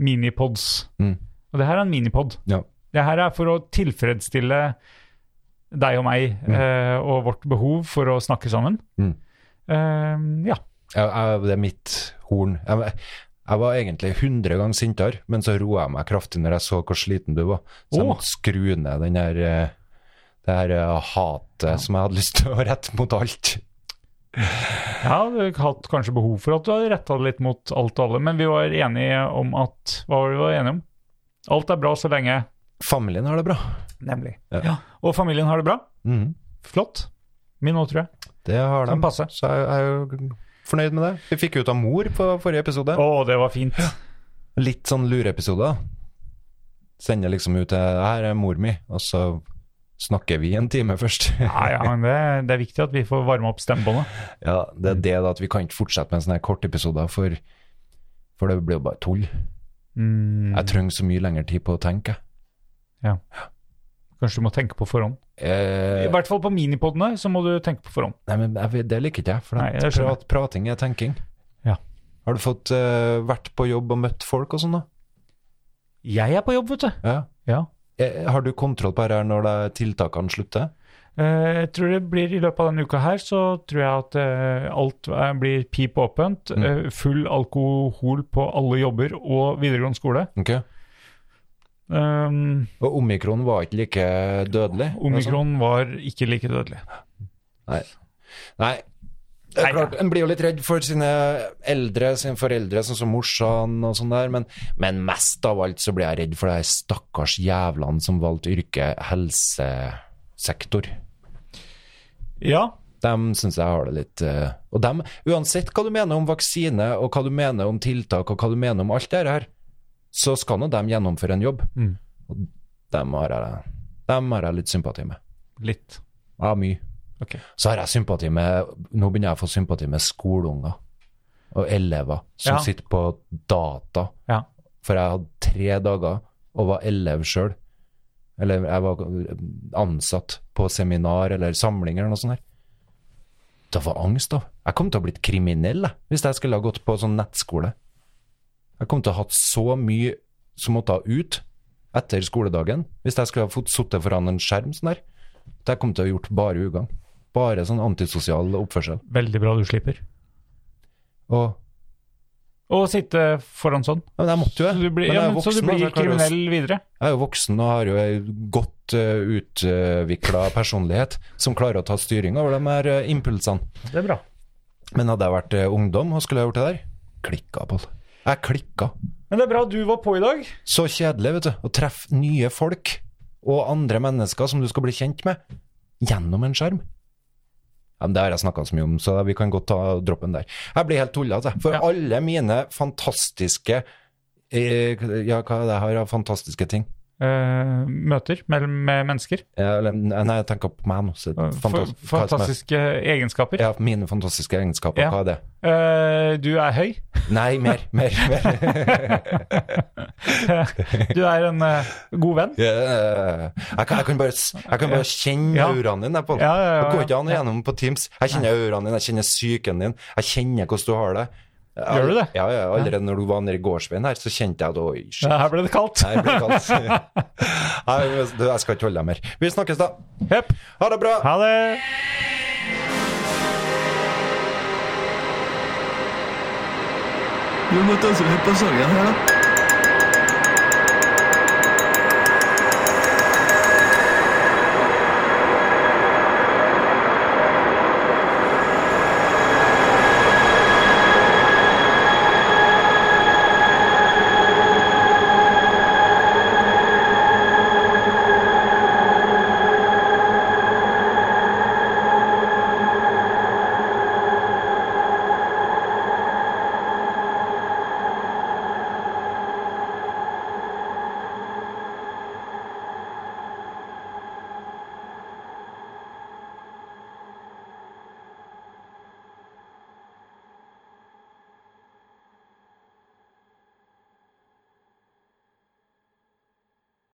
Speaker 4: minipods.
Speaker 2: Mm.
Speaker 4: Og det her er en minipod.
Speaker 2: ja.
Speaker 4: Det her er for å tilfredsstille deg og meg eh, og vårt behov for å snakke sammen.
Speaker 2: Mm.
Speaker 4: Eh, ja.
Speaker 2: Jeg, jeg, det er mitt horn. Jeg, jeg var egentlig 100 ganger sintere, men så roa jeg meg kraftig når jeg så hvor sliten du var. Så
Speaker 4: Åh.
Speaker 2: jeg måtte skru ned den her, eh, det her eh, hatet som jeg hadde lyst til å rette mot alt.
Speaker 4: Jeg hadde hatt kanskje behov for at du hadde retta det litt mot alt og alle, men vi var enige om at Hva var det vi var enige om? Alt er bra så lenge
Speaker 2: Familien har det bra.
Speaker 4: Nemlig.
Speaker 2: Ja.
Speaker 4: Ja. Og familien har det bra?
Speaker 2: Mhm.
Speaker 4: Flott. Min òg, tror jeg.
Speaker 2: Det har de.
Speaker 4: Sånn passe.
Speaker 2: Så jeg, jeg er jo fornøyd med det. Vi fikk ut av mor på forrige episode.
Speaker 4: Å, det var fint.
Speaker 2: Litt sånn lureepisode. Sender liksom ut til Her er mor mi, og så snakker vi en time først.
Speaker 4: Ja, ja, men det, det er viktig at vi får varme opp stemmebåndet.
Speaker 2: Ja,
Speaker 4: Mm.
Speaker 2: det er det da at vi kan ikke fortsette med en sånn her kort episode, for, for det blir jo bare tull.
Speaker 4: Mm,
Speaker 2: Jeg trenger så mye lengre tid på å tenke.
Speaker 4: kanskje du må tenke på forhånd. I
Speaker 2: Eh,
Speaker 4: hvert fall på minipodene så må du tenke på forhånd.
Speaker 2: nei, men jeg, vet- det liker ikke jeg, for
Speaker 4: Nei,
Speaker 2: at
Speaker 4: jeg skjønner.
Speaker 2: prat, prating er tenking.
Speaker 4: Ja.
Speaker 2: Har du fått eh, vært på jobb og møtt folk og sånn, da?
Speaker 4: Jeg er på jobb, vet du.
Speaker 2: Ja.
Speaker 4: Ja.
Speaker 2: Eh, har du kontroll på det her når det- tiltakene slutter?
Speaker 4: Eh, Jeg tror det blir I løpet av denne uka her så tror jeg at eh, alt eh, blir pip åpent.
Speaker 2: Mm.
Speaker 4: eh, Full alkohol på alle jobber og videregående skole.
Speaker 2: Ok.
Speaker 4: Um,
Speaker 2: Og omikron var ikke like dødelig? altså.
Speaker 4: omikron var ikke like dødelig.
Speaker 2: Nei. Det er
Speaker 4: Nei,
Speaker 2: klart, En blir jo litt redd for sine eldre, sine foreldre, sånn som morsan og sånn der, men, men mest av alt så blir jeg redd for de her stakkars jævlene som valgte yrket helsesektor.
Speaker 4: Ja,
Speaker 2: De syns jeg har det litt eh, Og dem, uansett hva du mener om vaksine, og hva du mener om tiltak, og hva du mener om alt det her, så skal nå dem gjennomføre en jobb.
Speaker 4: Mm.
Speaker 2: Og dem har, jeg, dem har jeg litt sympati med.
Speaker 4: litt.
Speaker 2: Ja, mye.
Speaker 4: Ok.
Speaker 2: Så har jeg sympati med Nå begynner jeg å få sympati med skoleunger og elever som
Speaker 4: Ja.
Speaker 2: sitter på data.
Speaker 4: Ja.
Speaker 2: For jeg hadde tre dager og var elev sjøl. Eller jeg var ansatt på seminar eller samling eller noe sånt. her. Det var angst, da. Jeg kom til å ha blitt kriminell jeg, hvis jeg skulle ha gått på sånn nettskole. Jeg kom til å ha hatt så mye som måtte ha ut etter skoledagen hvis jeg skulle ha fått sittet foran en skjerm sånn her. Det kom til å ha gjort bare ugagn. Bare sånn antisosial oppførsel.
Speaker 4: Veldig bra du slipper.
Speaker 2: Og
Speaker 4: Å sitte foran sånn.
Speaker 2: ja, men jeg måtte jo det.
Speaker 4: Så du blir,
Speaker 2: Men jeg
Speaker 4: ja,
Speaker 2: er
Speaker 4: men, så du
Speaker 2: voksen, da,
Speaker 4: blir
Speaker 2: jeg klarer å-
Speaker 4: kriminell videre?
Speaker 2: Jeg er jo voksen og har jo ei godt uh, utvikla personlighet som klarer å ta styring over de her eh, impulsene.
Speaker 4: Det er bra.
Speaker 2: Men hadde jeg vært eh, ungdom og skulle ha gjort det der, klikka, Pål. Jeg klikka.
Speaker 4: Men det er bra du var på i dag.
Speaker 2: Så kjedelig, vet du. Å treffe nye folk og andre mennesker som du skal bli kjent med, gjennom en skjerm. Ja, men det har jeg snakka så mye om, så vi kan godt ta droppen der. Jeg blir helt tullete, jeg. For
Speaker 4: Ja.
Speaker 2: alle mine fantastiske eh, Ja, hva er det jeg har av fantastiske ting?
Speaker 4: Eh, møter mellom med mennesker.
Speaker 2: Ja, eller, nei, jeg tenker på meg nå. Så
Speaker 4: Eh,
Speaker 2: fantas-
Speaker 4: fa-
Speaker 2: hva som er-
Speaker 4: fantastiske egenskaper.
Speaker 2: Ja, mine fantastiske egenskaper.
Speaker 4: Ja.
Speaker 2: Hva er det?
Speaker 4: Eh, du er høy.
Speaker 2: Nei, mer, mer, mer.
Speaker 4: Du er en eh, god venn.
Speaker 2: Eh, jeg, kan, jeg, kan bare, s- jeg kan bare kjenne
Speaker 4: Ja.
Speaker 2: auraen din. Jeg, Pål.
Speaker 4: Ja, ja, ja,
Speaker 2: Det går
Speaker 4: ja.
Speaker 2: ikke an å gjennom på Teams. Jeg kjenner auraen din, jeg kjenner psyken din, jeg kjenner hvordan du har det.
Speaker 4: Gjør du det?
Speaker 2: Ja, ja, allerede når du var nede i gårdsveien her, så kjente jeg at oi, shit.
Speaker 4: Her ble det kaldt.
Speaker 2: Nei, jeg blir kaldt. Nei, men du, jeg skal ikke holde deg mer. Vi snakkes, da.
Speaker 4: Hepp.
Speaker 2: Ha det bra.
Speaker 4: Ha det.
Speaker 1: Du må ta oss med på sangen her, da.